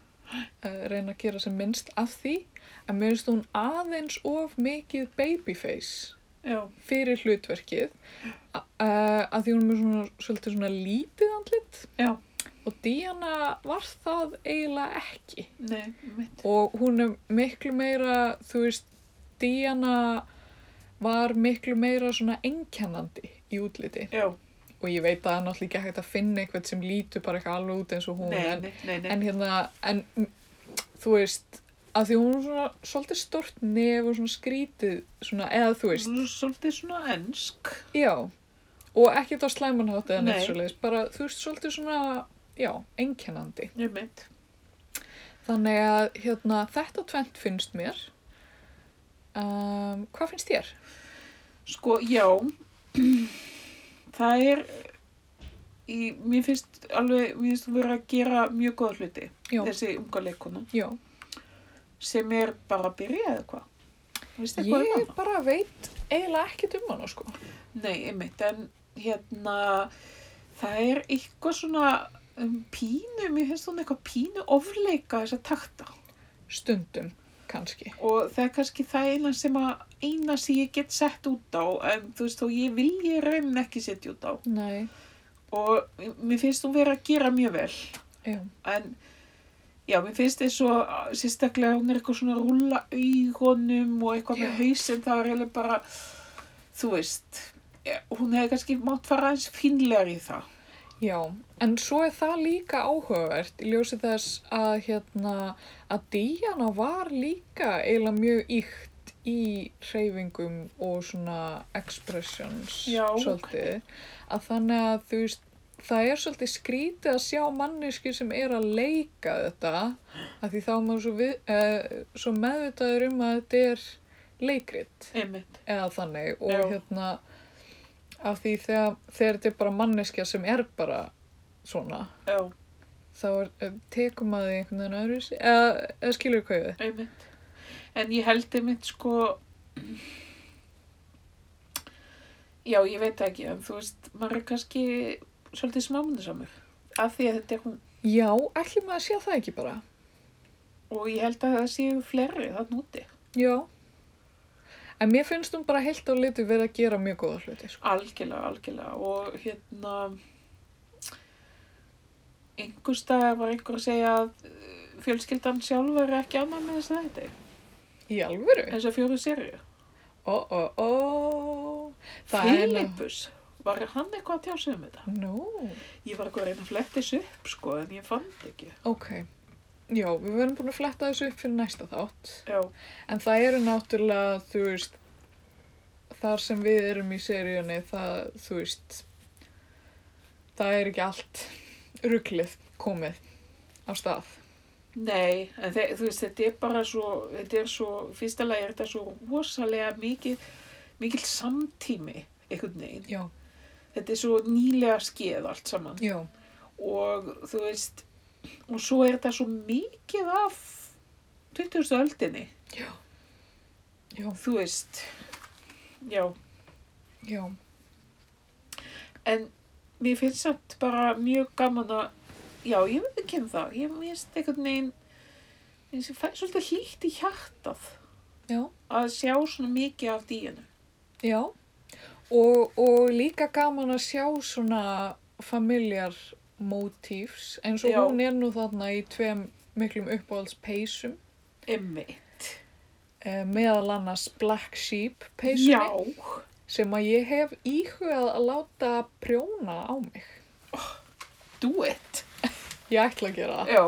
S1: eh, reyna að gera sem minnst af því en mér finnst hún aðeins of mikið babyface
S2: Já,
S1: fyrir hlutverkið a- eh, að því hún er með svona, svolítið svona lítið andlit
S2: já,
S1: og Diana var það eiginlega ekki
S2: nei, mitt.
S1: og hún er miklu meira, þú veist, Diana var miklu meira svona einkennandi í útliti
S2: Já,
S1: og ég veit að það er náttúrulega ekki hægt að finna eitthvað sem lítur bara eitthvað alveg út eins og hún
S2: nei,
S1: en,
S2: nei, nei, nei.
S1: en hérna, en mm, þú veist, að því hún er svona svolítið stort nef og svona skrítið svona, eða þú veist,
S2: Nú, Svolítið svona ensk.
S1: já og ekkert á slæmanhátt eða
S2: Nei.
S1: neitt svoleiðis bara þú veist, svolítið svona, já, einkennandi
S2: Nei, mitt.
S1: Þannig að hérna, þetta tvent finnst mér. Um, hvað finnst þér?
S2: Sko, já, það er, í, mér finnst alveg, mér finnst þú verið að gera mjög góða hluti,
S1: Já,
S2: þessi unga leikona,
S1: já.
S2: sem er bara að byrja eða hvað. Veistu eitthvað um
S1: Ég
S2: hana?
S1: bara veit eiginlega ekkert um hana, sko.
S2: Nei, einmitt, en hérna, það er eitthvað svona um, pínu, mér finnst hún eitthvað pínu ofleika þessa takta.
S1: Stundum, kannski.
S2: og það er kannski það eina sem að eina sem ég get sett út á en þú veist þó ég vil ég raunin ekki setja út á
S1: Nei,
S2: og mér finnst þú vera að gera mjög vel
S1: já,
S2: en já, mér finnst þess að sérstaklega hún er eitthvað svona að rúlla augunum og eitthvað með hausinn það er eiginlega bara þú veist eh, hún hefði kannski mátt fara aðeins fínlegar í það
S1: já. En svo er það líka áhugavert í ljósi þess að, hérna, að Díana var líka eiginlega mjög ykt í hreyfingum og svona expressions
S2: Já, ok.
S1: svolítið. Að þannig að þú veist, það er svolítið skrítið að sjá manneski sem er að leika þetta að því þá er maður svo, við, eh, svo meðvitaður um að þetta er leikrit
S2: einmitt,
S1: eða þannig og
S2: Já.
S1: hérna af því þegar, þegar þetta er bara manneskja sem er bara svona
S2: já,
S1: þá er, eh, tekur maður því einhvern veginn öðru eða, eða skilur hvað við
S2: einmitt en ég held einmitt sko já, ég veit það ekki en þú veist, maður er kannski svolítið smámundisamur af því að þetta er hún
S1: já, ætlum maður að sé það ekki bara
S2: og ég held að það séu fleiri það núti
S1: já en mér finnst hún bara heilt á litu verið að gera mjög góða hluti sko.
S2: algjörlega, algjörlega og hérna einhver staðar var einhver að segja að eh, fjölskyldan sjálf er ekki annað með þess að þetta
S1: í alvöru
S2: þess að fjóru serju
S1: ó, ó, ó það er ná
S2: Filipus, var hann eitthvað að tjá sig um þetta?
S1: nú,
S2: Ég var eitthvað að reyna að fletta þessu upp sko en ég fann þetta ekki.
S1: ok já, við verðum búin að fletta þessu upp fyrir næsta þátt.
S2: Já.
S1: En það eru náttúrulega, þú veist, þar sem við erum í seríunni, það, þú veist, það er ekki allt rugglið komið á stað.
S2: Nei, en þe þú veist, þetta er bara svo, þetta er svo, fyrsta lagi er þetta svo rosalega mikið, mikil samtími, einhvern veginn.
S1: Já,
S2: Þetta er svo nýlega skeið allt saman
S1: já,
S2: og þú veist, og svo er þetta svo mikið af 20. öldinni,
S1: já,
S2: þú veist, já,
S1: já,
S2: en mér finnst samt bara mjög gaman að, já, ég veit ekki um það, ég finnst einhvern veginn, ég finnst ég fæ svolítið hlýtt í hjartað
S1: já,
S2: að sjá svona mikið af díinu.
S1: já. Og, og líka gaman að sjá svona familjar motífs, eins og
S2: Já.
S1: hún er nú þarna í tveim miklum uppáhaldspeysum,
S2: Emmitt.
S1: eh, meðal annars Black Sheep peysunni.
S2: Já,
S1: sem að ég hef íhugað að láta prjóna á mig.
S2: do it.
S1: Ég ætla að gera það.
S2: Já,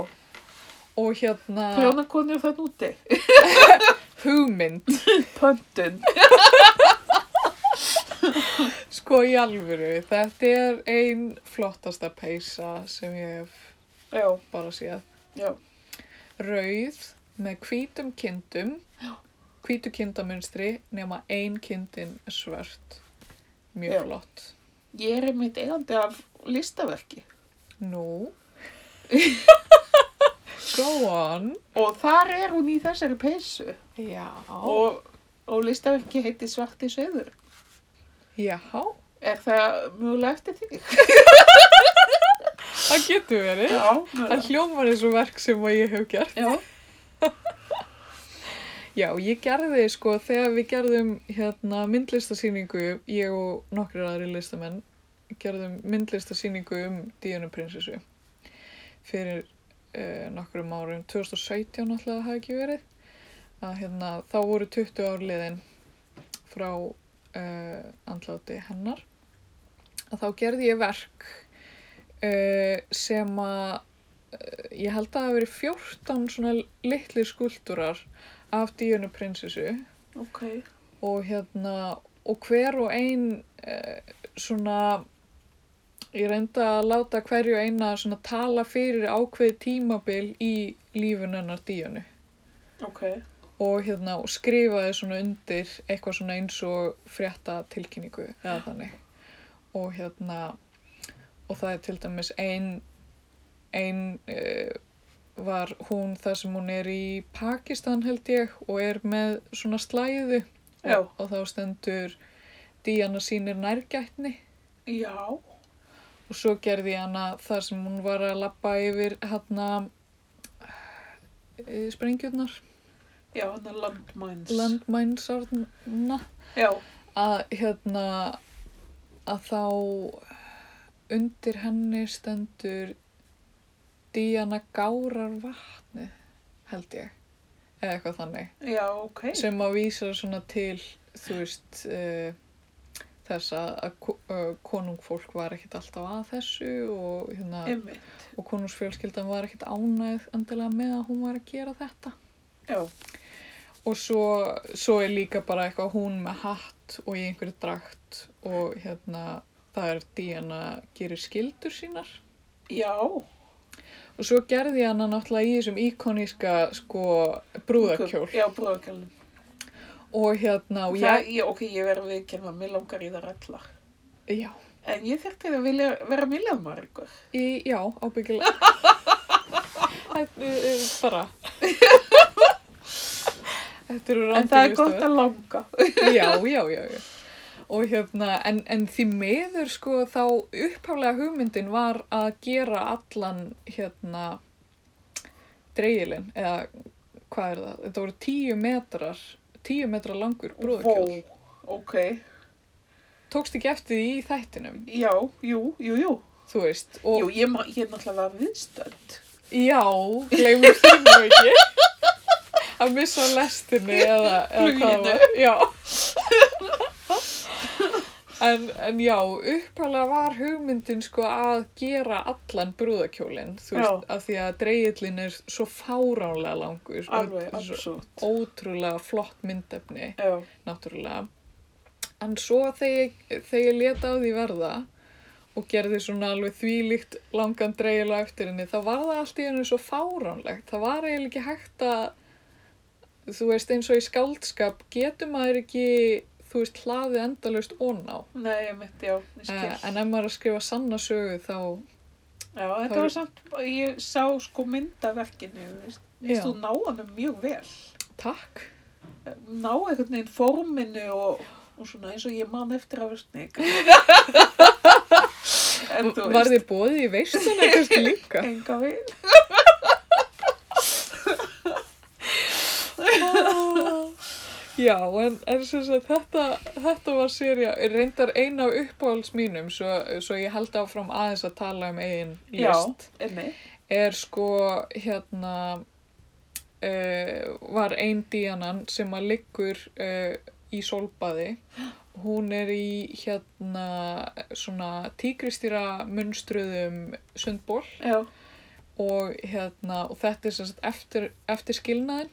S1: Og hérna,
S2: prjónakonu er þann úti.
S1: hugmynd,
S2: Pöntun.
S1: sko í alvöru, þetta er ein flottasta peysa sem ég hef
S2: Já,
S1: bara séð.
S2: já,
S1: Rauð með hvítum kindum, hvítu kindamunstri nema ein kindin er svört. Mjög
S2: Já.
S1: flott.
S2: ég er einmitt eigandi af listaverki.
S1: Nú, go on.
S2: Og þar er hún í þessari peysu.
S1: Já.
S2: Og, og listaverki heiti Svarti Sveður.
S1: Já,
S2: Er það mjögulega eftir þig?
S1: það getur verið.
S2: Já,
S1: Það
S2: mögulega.
S1: hljómar eins og verk sem að ég hef gert.
S2: Já,
S1: Já, ég gerði sko þegar við gerðum hérna myndlistasýningu, ég og nokkrir aðri listamenn gerðum myndlistasýningu um Díunu prinsessu fyrir eh, nokkrum árum, 2017 alltaf hafi ekki verið. Að, hérna, þá voru 20 ár liðin frá eh, andláti hennar. Að þá gerði ég verk eh, sem að eh, ég held að það hafi verið 14 svona litlir skuldurar af díunu prinsessu
S2: ok.
S1: og hérna og hver og ein eh, svona ég reynda að láta hverju eina svona tala fyrir ákveði tímabil í lífun hennar díunu
S2: Ok,
S1: og hérna og skrifaði svona undir eitthvað svona eins og frétta tilkynningu eða þannig og hérna og það er til dæmis ein ein uh, var hún það sem hún er í Pakistan held ég og er með svona slæðu
S2: Já.
S1: og, og þá stendur Díana sýnir nærgætni
S2: já,
S1: og svo gerði ég hana þar sem hún var að lappa yfir hérna eh, sprengjurnar
S2: já, hann er landmæns.
S1: landmænsarna
S2: Já,
S1: að hérna að þá undir henni stendur Díana gárar vatni held ég eða eitthvað þannig
S2: já, ok.
S1: sem að vísa svona til þú veist uh, þess að, að ko- eh, konungfólk var ekkit alltaf að þessu og, hérna,
S2: Emmitt.
S1: og konungsfjölskyldan var ekkit ánægð endilega með að hún var að gera þetta
S2: Já,
S1: Og svo, svo er líka bara eitthvað hún með hatt og í einhverju drakt og hérna það er Díana gerir skildur sínar.
S2: já,
S1: Og svo gerði hann náttúrulega í þessum íkoníska sko brúðarkjól
S2: Já, brúðakjólum.
S1: og hérna og
S2: Það,
S1: ég,
S2: ég, ok, ég verður við ekki að mér langar í það allar.
S1: já,
S2: En ég þurfti að vilja, vera sko. milljónmar ykkur.
S1: í, já, ábyggilega. Þetta er bara. Þetta eru
S2: En það er
S1: rándýrustu.
S2: gott að langa.
S1: já, já, já, já. Og hérna, en, en því meður sko þá upphaflega hugmyndin var að gera allan hérna dreigilinn, eða hvað er það? Þetta voru tíu metrar, tíu metra langur brúðakjól.
S2: Vó, ok.
S1: Tókst ekki eftir því í þættinum,
S2: Já, jú, jú, jú.
S1: þú veist. Og,
S2: Jú, ég, ma- ég náttúrulega var viðstönd.
S1: Já, gleymur því nú ekki. Að missa af lestinni eða, eða hvað það var. Já. En, en já, upphæðlega var hugmyndin sko að gera allan brúðakjólinn, þú veist, af því að dreigillin er svo fáránlega langur. og
S2: Alveg,
S1: þetta er svo
S2: absúrt.
S1: Ótrúlega flott myndefni,
S2: Já,
S1: náttúrulega. En svo þegar ég- þegar ég leta á því verða og gerði svona alveg þvílíkt langan dreigila eftir henni, þá var það allt í henni svo fáránlegt. Það var eiginlega ekki hægt að, þú veist, eins og í skáldskap getur maður ekki, þú veist, hlaðið endalaust oná.
S2: nei, ég mitt, já, ég skil.
S1: Uh, en ef maður er að skrifa sanna sögu þá,
S2: já, þetta
S1: það-
S2: var samt, ég sá sko mynd af verkinu, þú veist,
S1: Já.
S2: þú náðanum mjög vel.
S1: takk.
S2: Ná einhvern veginn forminu og, og svona eins og ég man eftir af versning. en þú
S1: Var
S2: veist,
S1: þið bóðið í veistunni kannski líka?
S2: enga vil.
S1: Já, en, en sem sagt, þetta, þetta var sérja, reyndar eina af uppáhalds mínum, svo, svo ég held áfram aðeins að tala um eigin
S2: Já,
S1: list,
S2: enni.
S1: er sko, hérna, uh, var ein díanan sem að liggur uh, í solbaði. Hún er í, hérna, svona tíkristýra munstruðum sundból.
S2: Já,
S1: og hérna og þetta er sem sagt eftir, eftir skilnaðin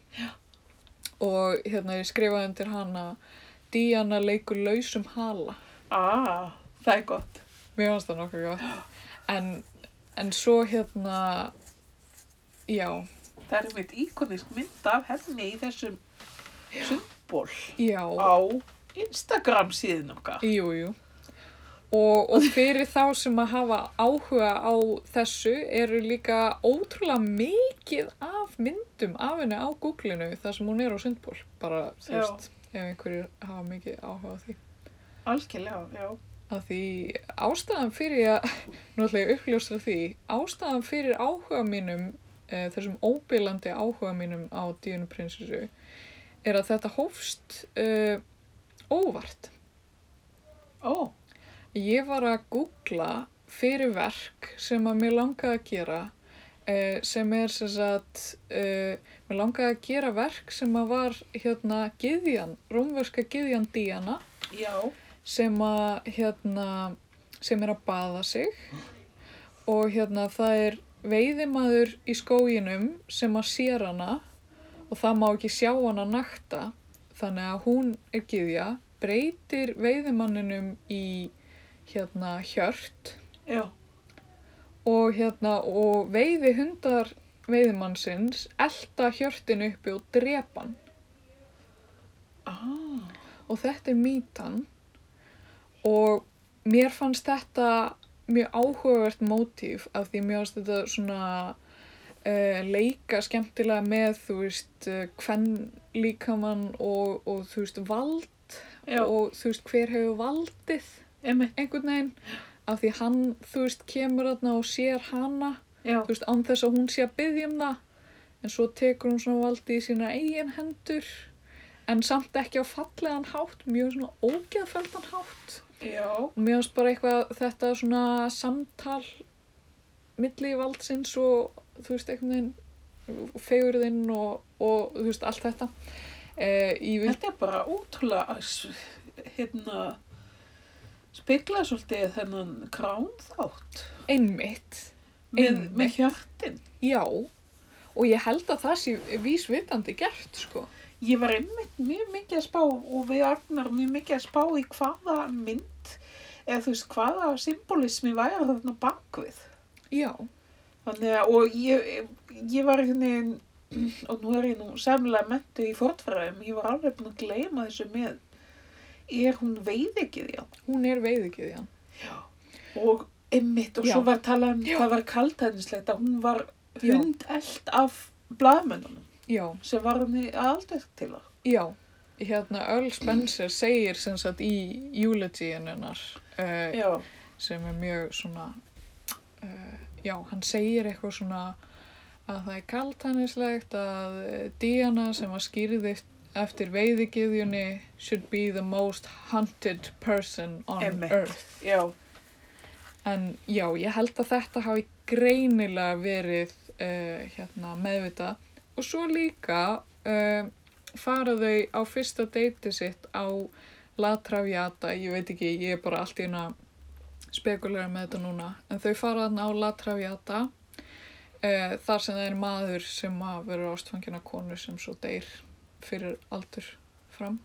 S1: og hérna ég skrifaði undir hana Díana leikur lausum hala
S2: ah, það er gott.
S1: mér fannst það nokkuð gott en, en svo hérna já,
S2: Það er einmitt íkonisk mynd af henni í þessum sundból
S1: já
S2: á Instagram síðan okkar.
S1: jú, jú Og, og fyrir þá sem að hafa áhuga á þessu eru líka ótrúlega mikið af myndum af henni á Google-inu þar sem hún er á sundból, bara þú
S2: Já.
S1: veist, ef einhverjir hafa mikið áhuga á því.
S2: Algjörlega, já.
S1: að því ástæðan fyrir að, nú ætla ég að uppljóstra því, ástæðan fyrir áhuga mínum, e, þessum óbílandi áhuga mínum á Díunu prinsessu, er að þetta hófst e, óvart.
S2: Ó,
S1: Ég var að googla fyrir verk sem að mér langaði að gera, e, sem er sem sagt, e, mér langaði að gera verk sem að var hérna gyðjan, rómverska gyðjan Díana,
S2: já,
S1: sem að hérna sem er að baða sig og hérna það er veiðimaður í skóginum sem að sér hana og það má ekki sjá hana nakta þannig að hún er gyðja breytir veiðimanninum í hérna hjört
S2: já,
S1: og hérna og veiði hundar veiðimannsins elta hjörtin uppi og drepan
S2: ah,
S1: og þetta er mýtan og mér fannst þetta mjög áhugavert mótíf af því mér fannst þetta svona uh, leika skemmtilega með þú veist uh, hvern líkamann og, og þú veist vald
S2: já,
S1: og þú veist hver hefur valdið
S2: emmi,
S1: einhvern veginn af því hann þú veist kemur þarna og sér hana
S2: já,
S1: þú veist án þess að hún sé að byggja um það en svo tekur hún svona valdið í sína eigin hendur en samt ekki á fallegan hátt mjög svona ógeðfeldan hátt
S2: já,
S1: og mér finnst bara eitthvað þetta svona samtal milli valdsins og þú veist einhvern veginn fegurðinn og, og þú veist allt þetta eh, í vil
S2: þetta er bara ótrúlega, s- hérna, spegla svolítið þennan kránþátt
S1: einmitt
S2: með,
S1: Einmitt.
S2: með hjartin.
S1: já og ég held að það sé vísvitandi gert sko
S2: Ég var einmitt mjög mikið að spá og við Agnar mjög mikið að spá í hvaða mynd eða þú veist hvaða symbolismi væri þarna bakvið.
S1: já,
S2: Þannig að, og ég, ég var einhvern veginn, og nú er ég nú semlega mentu í fortfræðum, ég var alveg búin að gleyma þessu með, er hún veiðikið já?
S1: hún er veiðikiðjan
S2: Og einmitt, og svo
S1: Já.
S2: var talað um,
S1: Já.
S2: það var kaltæðnislegt að hún var
S1: Já.
S2: hundelt af blaðmennunum
S1: já
S2: sem var henni aldrei til það.
S1: Já, hérna Earl Spencer segir sem sagt í eulogyinn hennar uh,
S2: Já,
S1: sem er mjög svona, uh, já, hann segir eitthvað svona að það er kaltanislegt að eh, Diana sem var skýrði eftir veiðigiðjunni should be the most hunted person on
S2: Einmitt.
S1: earth.
S2: já,
S1: En já, ég held að þetta hafi greinilega verið uh, hérna, meðvita. eh, Og svo líka uh, fara þau á fyrsta deiti sitt á La Traviata, ég veit ekki, ég er bara allt í einu að spekulera með þetta núna. En þau fara þarna á La Traviata, eh, þar sem það er maður sem að verður ástfangina konu sem svo deyr fyrir aldur fram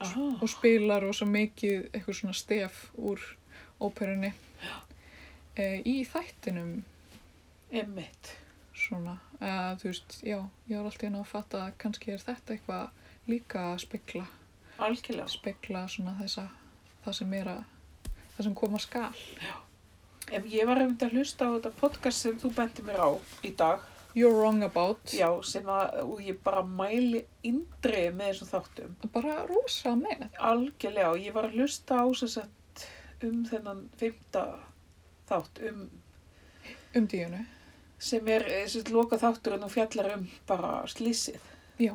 S2: Ah.
S1: og spilar og svo mikið eitthvað svona stef úr óperunni eh, í þættinum
S2: Emmitt.
S1: svona, eða þú veist, já, ég var alltaf inn að fatta að kannski er þetta eitthvað líka að spegla,
S2: Algjörlega.
S1: spegla svona þessa, það sem er að, það sem koma skal.
S2: Ef ég var einmitt að hlusta á þetta podcast sem þú benti mér á í dag,
S1: You're wrong about,
S2: já, sem að, og ég bara mæli indrið með þessum þáttum,
S1: bara rosa með.
S2: algjörlega, og ég var að hlusta á þess að um þennan fymta þátt, um,
S1: Um díunu,
S2: sem er þess að loka þátturinn og fjallar um bara slísið.
S1: Já.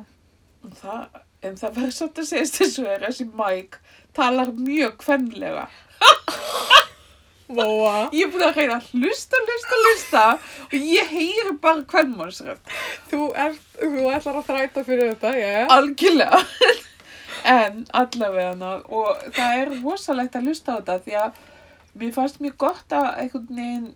S2: En það, en það verður satt að segja þessu er að þessi Mike talar mjög kvenlega.
S1: Vóa.
S2: Ég er búin að reyna að hlusta, hlusta, hlusta og ég heyri bara kvenmannsrönd.
S1: Þú, ert, þú ætlar að þræta fyrir þetta, já.
S2: Algjörlega. en allavega og það er rosalegt að hlusta á þetta því að mér fannst mjög gott að einhvern veginn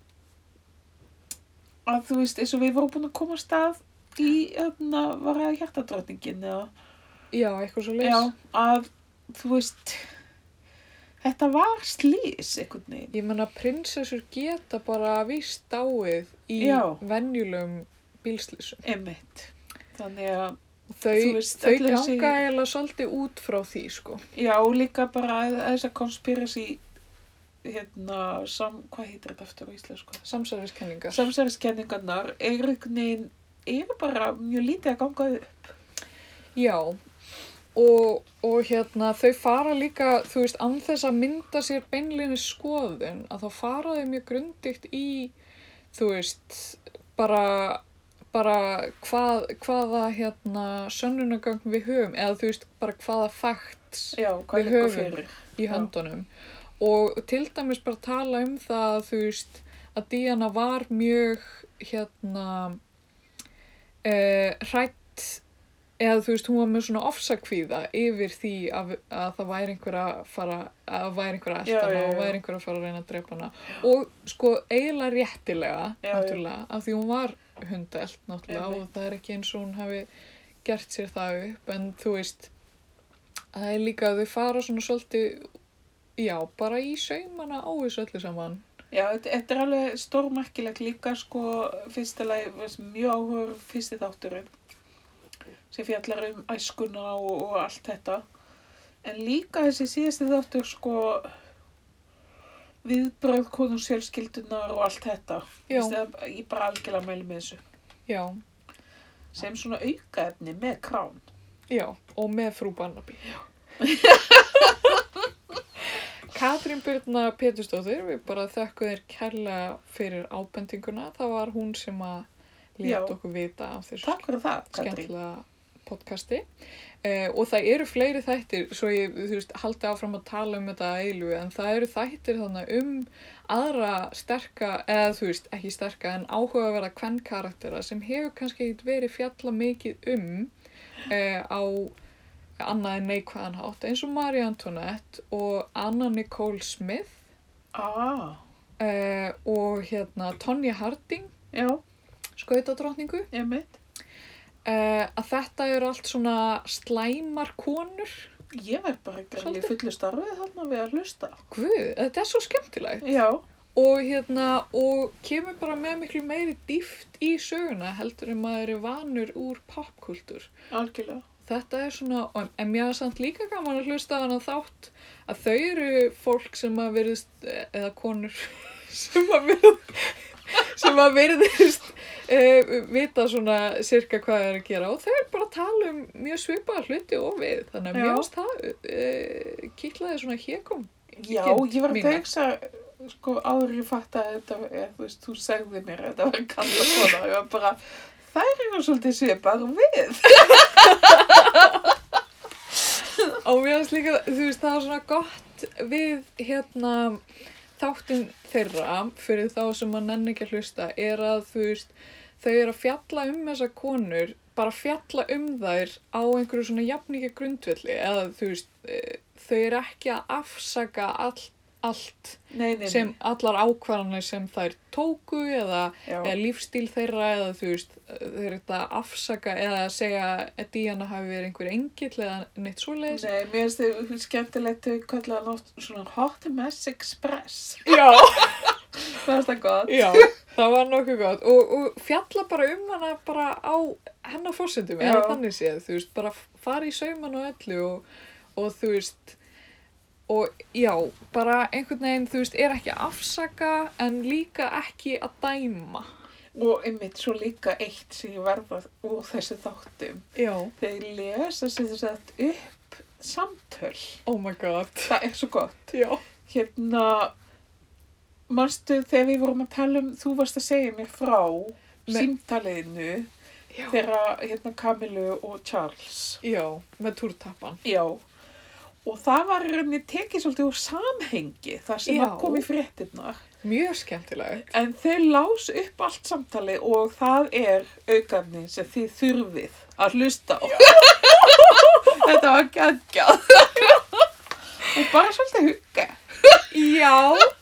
S2: að þú veist, eins og við vorum búin að koma af stað í, þarna, var það hjartadrottningin eða,
S1: Já, eitthvað svo
S2: já,
S1: leys.
S2: að þú veist þetta var slís einhvern veginn.
S1: Ég menna prinsessur geta bara víst dáið í
S2: Já.
S1: venjulegum bílslýsum.
S2: Einmitt. Þannig að Þú
S1: Þau,
S2: veist,
S1: þau
S2: öll
S1: ganga
S2: þessi-
S1: eiginlega svolítið út frá því, sko.
S2: Já, og líka bara að- að þessa conspiracy hérna, sam, hvað heitir þetta aftur á íslensku?
S1: Samsæðiskenningar.
S2: Samsæðiskenningarnar eru einhvern veginn, eru bara mjög lítið að ganga upp.
S1: Já, og, og hérna, þau fara líka, þú veist, án þess að mynda sér beinleginni skoðun, að þá fara þau mjög grundigt í, þú veist, bara, bara hvað, hvaða, hérna, sönnunagögn við höfum, eða þú veist, bara hvaða facts
S2: Já, hvað
S1: Við
S2: liggur
S1: höfum.
S2: fyrir.
S1: í
S2: Já.
S1: höndunum og til dæmis bara tala um það að þú veist að Diana var mjög hérna eh, hrætt eða þú veist hún var með svona ofsakvíða yfir því að, að það væri einhver að fara að væri einhver að
S2: Já,
S1: elta hana
S2: já, já.
S1: og væri einhver að fara að reyna að drepa hana og sko eiginlega réttilega
S2: Já, já.
S1: náttúrulega af því hún var hundelt náttúrulega
S2: Einmitt.
S1: og það er ekki eins og hún hafi gert sér það upp en þú veist það er líka að þau fara svona svolítið já, bara í saumana á þessu öllu saman
S2: Já, þetta, þetta er alveg stórmerkilegt líka, sko, fyrstilega, mjög áhugur fyrsti þátturinn sem fjallar um æskuna og, og allt þetta. En líka þessi síðasti þáttur, sko, viðbröð konungs fjölskyldunar og allt þetta.
S1: Já.
S2: Veistu, það- Ég bara algjörlega mæli með þessu.
S1: já,
S2: Sem svona aukaefni með krán.
S1: já, og með frú Barnaby Katrín Byrna Pétursdóttir við bara þökkum þér kærlega fyrir ábendinguna, það var hún sem að
S2: Já.
S1: leta okkur vita af þessu
S2: Takk fyrir það, Katrín.
S1: skemmtilega podcasti eh, og það eru fleiri þættir svo ég þú veist, haldi áfram að tala um þetta að eilu en það eru þættir þannig um aðra sterka eða þú veist ekki sterka en áhugaverða hvern karaktera sem hefur kannski ekkert verið fjalla mikið um eh, á annað en neikvæðan hátt eins og Marie Antoinette og Anna Nicole Smith
S2: Ah,
S1: eh, og hérna Tonja Harding
S2: já,
S1: skautadrottningu
S2: ég mitt.
S1: uh, að þetta eru allt svona slæmar konur.
S2: Ég verð bara ekki alveg í
S1: Svolítið.
S2: fullu starfið þarna við að hlusta.
S1: Guð, þetta er svo skemmtilegt.
S2: Já.
S1: Og hérna, og kemur bara með miklu meiri dýft í söguna heldur en maður er vanur úr popkultúr.
S2: Algjörlega.
S1: Þetta er svona, og- en mér er samt líka gaman að hlusta á hana þátt að þau eru fólk sem að verðist, eða konur sem að verðist, sem að verðist e, vita svona sirka hvað það er að gera og þau eru bara að tala um mjög svipaða hluti og við, þannig að
S2: Já.
S1: mjög ást það e, kýtlaði svona hékum.
S2: Já, ég var
S1: kind
S2: að um
S1: mína.
S2: tegsa, sko, áður ég fatt að þetta, eða, þú veist, þú segði mér að þetta var kalla svona, ég var bara, þær eru svolítið svipar við.
S1: Og mér finnst líka, þú veist, það er svona gott við hérna þáttinn þeirra fyrir þá sem að nenni ekki að hlusta er að þú veist, þau eru að fjalla um þessa konur, bara fjalla um þær á einhverju svona jafningja grundvelli eða þú veist, eh, þau eru ekki að afsaka all, allt
S2: Nei, nei, nei.
S1: sem allar ákvarðanir sem þær tóku eða,
S2: Já.
S1: eða lífstíl þeirra eða þú veist, þau eru þetta að afsaka eða að segja að Díana hafi verið einhver engill eða neitt svoleiðis.
S2: Nei, mér finnst þau skemmtilegt þau kallaða nátt svona Hot Mess Express.
S1: Já,
S2: Mér finnst það gott.
S1: já, það var nokkuð gott og, og fjalla bara um hana bara á hennar fórsendum eða
S2: Já.
S1: þannig séð, þú veist, bara fara í sauman og öllu og, og þú veist og já, bara einhvern veginn, þú veist, er ekki að afsaka en líka ekki að dæma.
S2: Og einmitt svo líka eitt sem ég verða úr þessu þáttum.
S1: Já.
S2: Þeir lesa sem þess að upp samtöl.
S1: Oh my god.
S2: Það er svo gott.
S1: Já.
S2: Hérna, manstu þegar við vorum að tala um, þú varst að segja mér frá
S1: Nei.
S2: símtaliðinu
S1: Já.
S2: þeirra hérna Kamilu og Charles.
S1: Já, með túrtappan.
S2: Já. Og það var í rauninni tekið svolítið úr samhengi þar sem
S1: Já.
S2: að kom í fréttinnar.
S1: Mjög skemmtilegt.
S2: En þau lás upp allt samtali og það er aukarni sem þið þurfið að hlusta á. Þetta var geggjað. og bara svolítið hugga.
S1: Já,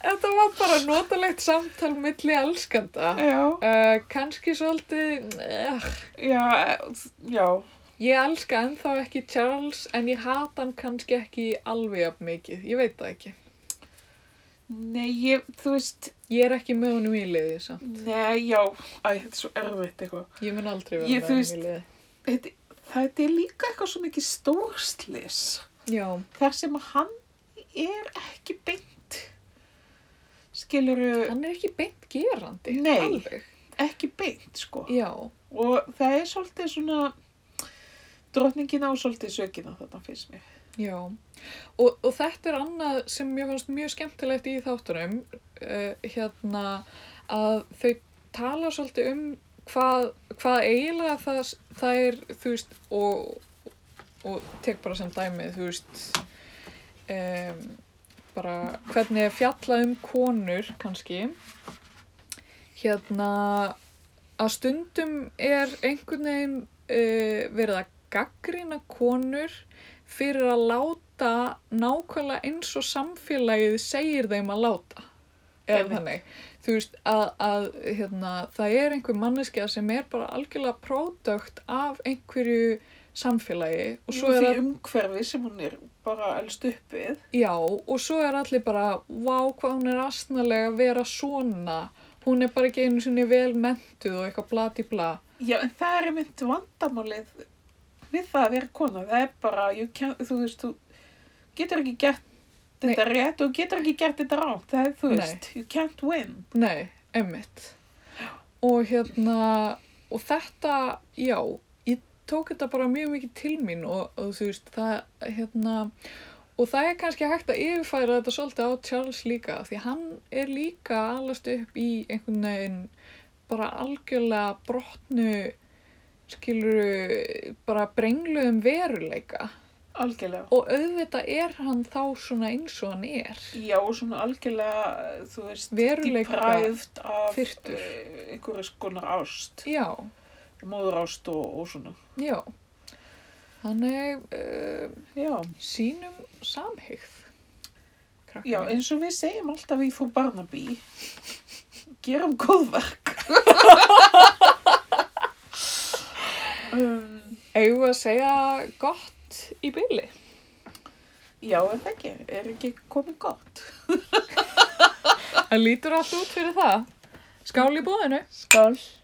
S1: þetta var bara notalegt samtal milli elskenda.
S2: Já,
S1: Uh, Kanski svolítið, uh,
S2: já, já,
S1: ég elska ennþá ekki Charles en ég hata hann kannski ekki alveg af mikið, ég veit það ekki.
S2: nei, ég, þú veist,
S1: Ég er ekki með honum í liði samt,
S2: nei, já, æ, þetta er svo erfitt eitthvað.
S1: ég mun aldrei vera
S2: Ég,
S1: með
S2: þú
S1: honum
S2: veist-
S1: í liði.
S2: Þetta, þetta er líka eitthvað svo mikið stórslis
S1: Já,
S2: þar sem að hann er ekki beint, skiluru,
S1: hann er ekki beint gerandi,
S2: Nei.
S1: alveg.
S2: ekki beint, sko.
S1: Já,
S2: og það er svolítið svona drotningin á svolítið sökina þarna finnst mér
S1: já. Og, og þetta er annað sem mér fannst mjög skemmtilegt í þáttunum, uh, hérna að þau tala svolítið um hvað, hvað eiginlega það, það er, þú veist, og, og tek bara sem dæmið, þú veist, um, bara hvernig er fjallað um konur kannski, hérna að stundum er einhvern veginn uh, verið að gaggrina konur fyrir að láta nákvæmlega eins og samfélagið segir þeim að láta. Eða
S2: Einmitt.
S1: þannig þú veist, að, að hérna, það er einhver manneskja sem er bara algjörlega pródökt af einhverju samfélagi og svo, er
S2: því um-
S1: all,
S2: umhverfi sem hún er bara elst upp við
S1: já, og svo er allir bara vá hvað hún er astnalega að vera svona hún er bara ekki einu sinni vel mentuð og eitthvað blati bla
S2: já en það er einmitt vandamálið við það að vera kona það er bara, you can, þú veist þú getur ekki gert
S1: Nei.
S2: þetta rétt og getur ekki gert þetta rátt það er þú
S1: Nei.
S2: veist, you can't win
S1: nei, emmitt og hérna og þetta, já ég tók þetta bara mjög mikið til mín og, og þú veist, það hérna og það er kannski hægt að yfirfæra þetta svolítið á Charles líka því hann er líka allast upp í einhvern veginn bara algjörlega brotnu skiluru bara brengluðum veruleika
S2: algjörlega
S1: og auðvitað er hann þá svona eins og hann er
S2: já og svona algjörlega, þú veist
S1: Veruleika
S2: deprived af
S1: firrtur.
S2: eh, einhverju skonar ást
S1: já,
S2: móðurást og, og svona
S1: já þannig uh,
S2: já
S1: sínum samhygð krakkar
S2: Já,
S1: mín.
S2: eins og við segjum alltaf í frú Barnaby, gerum góðverk. um,
S1: eigum við að segja gott í byli
S2: já, en það ekki, er ekki komið gott.
S1: það lítur allt út fyrir það skál í búðinu
S2: Skál.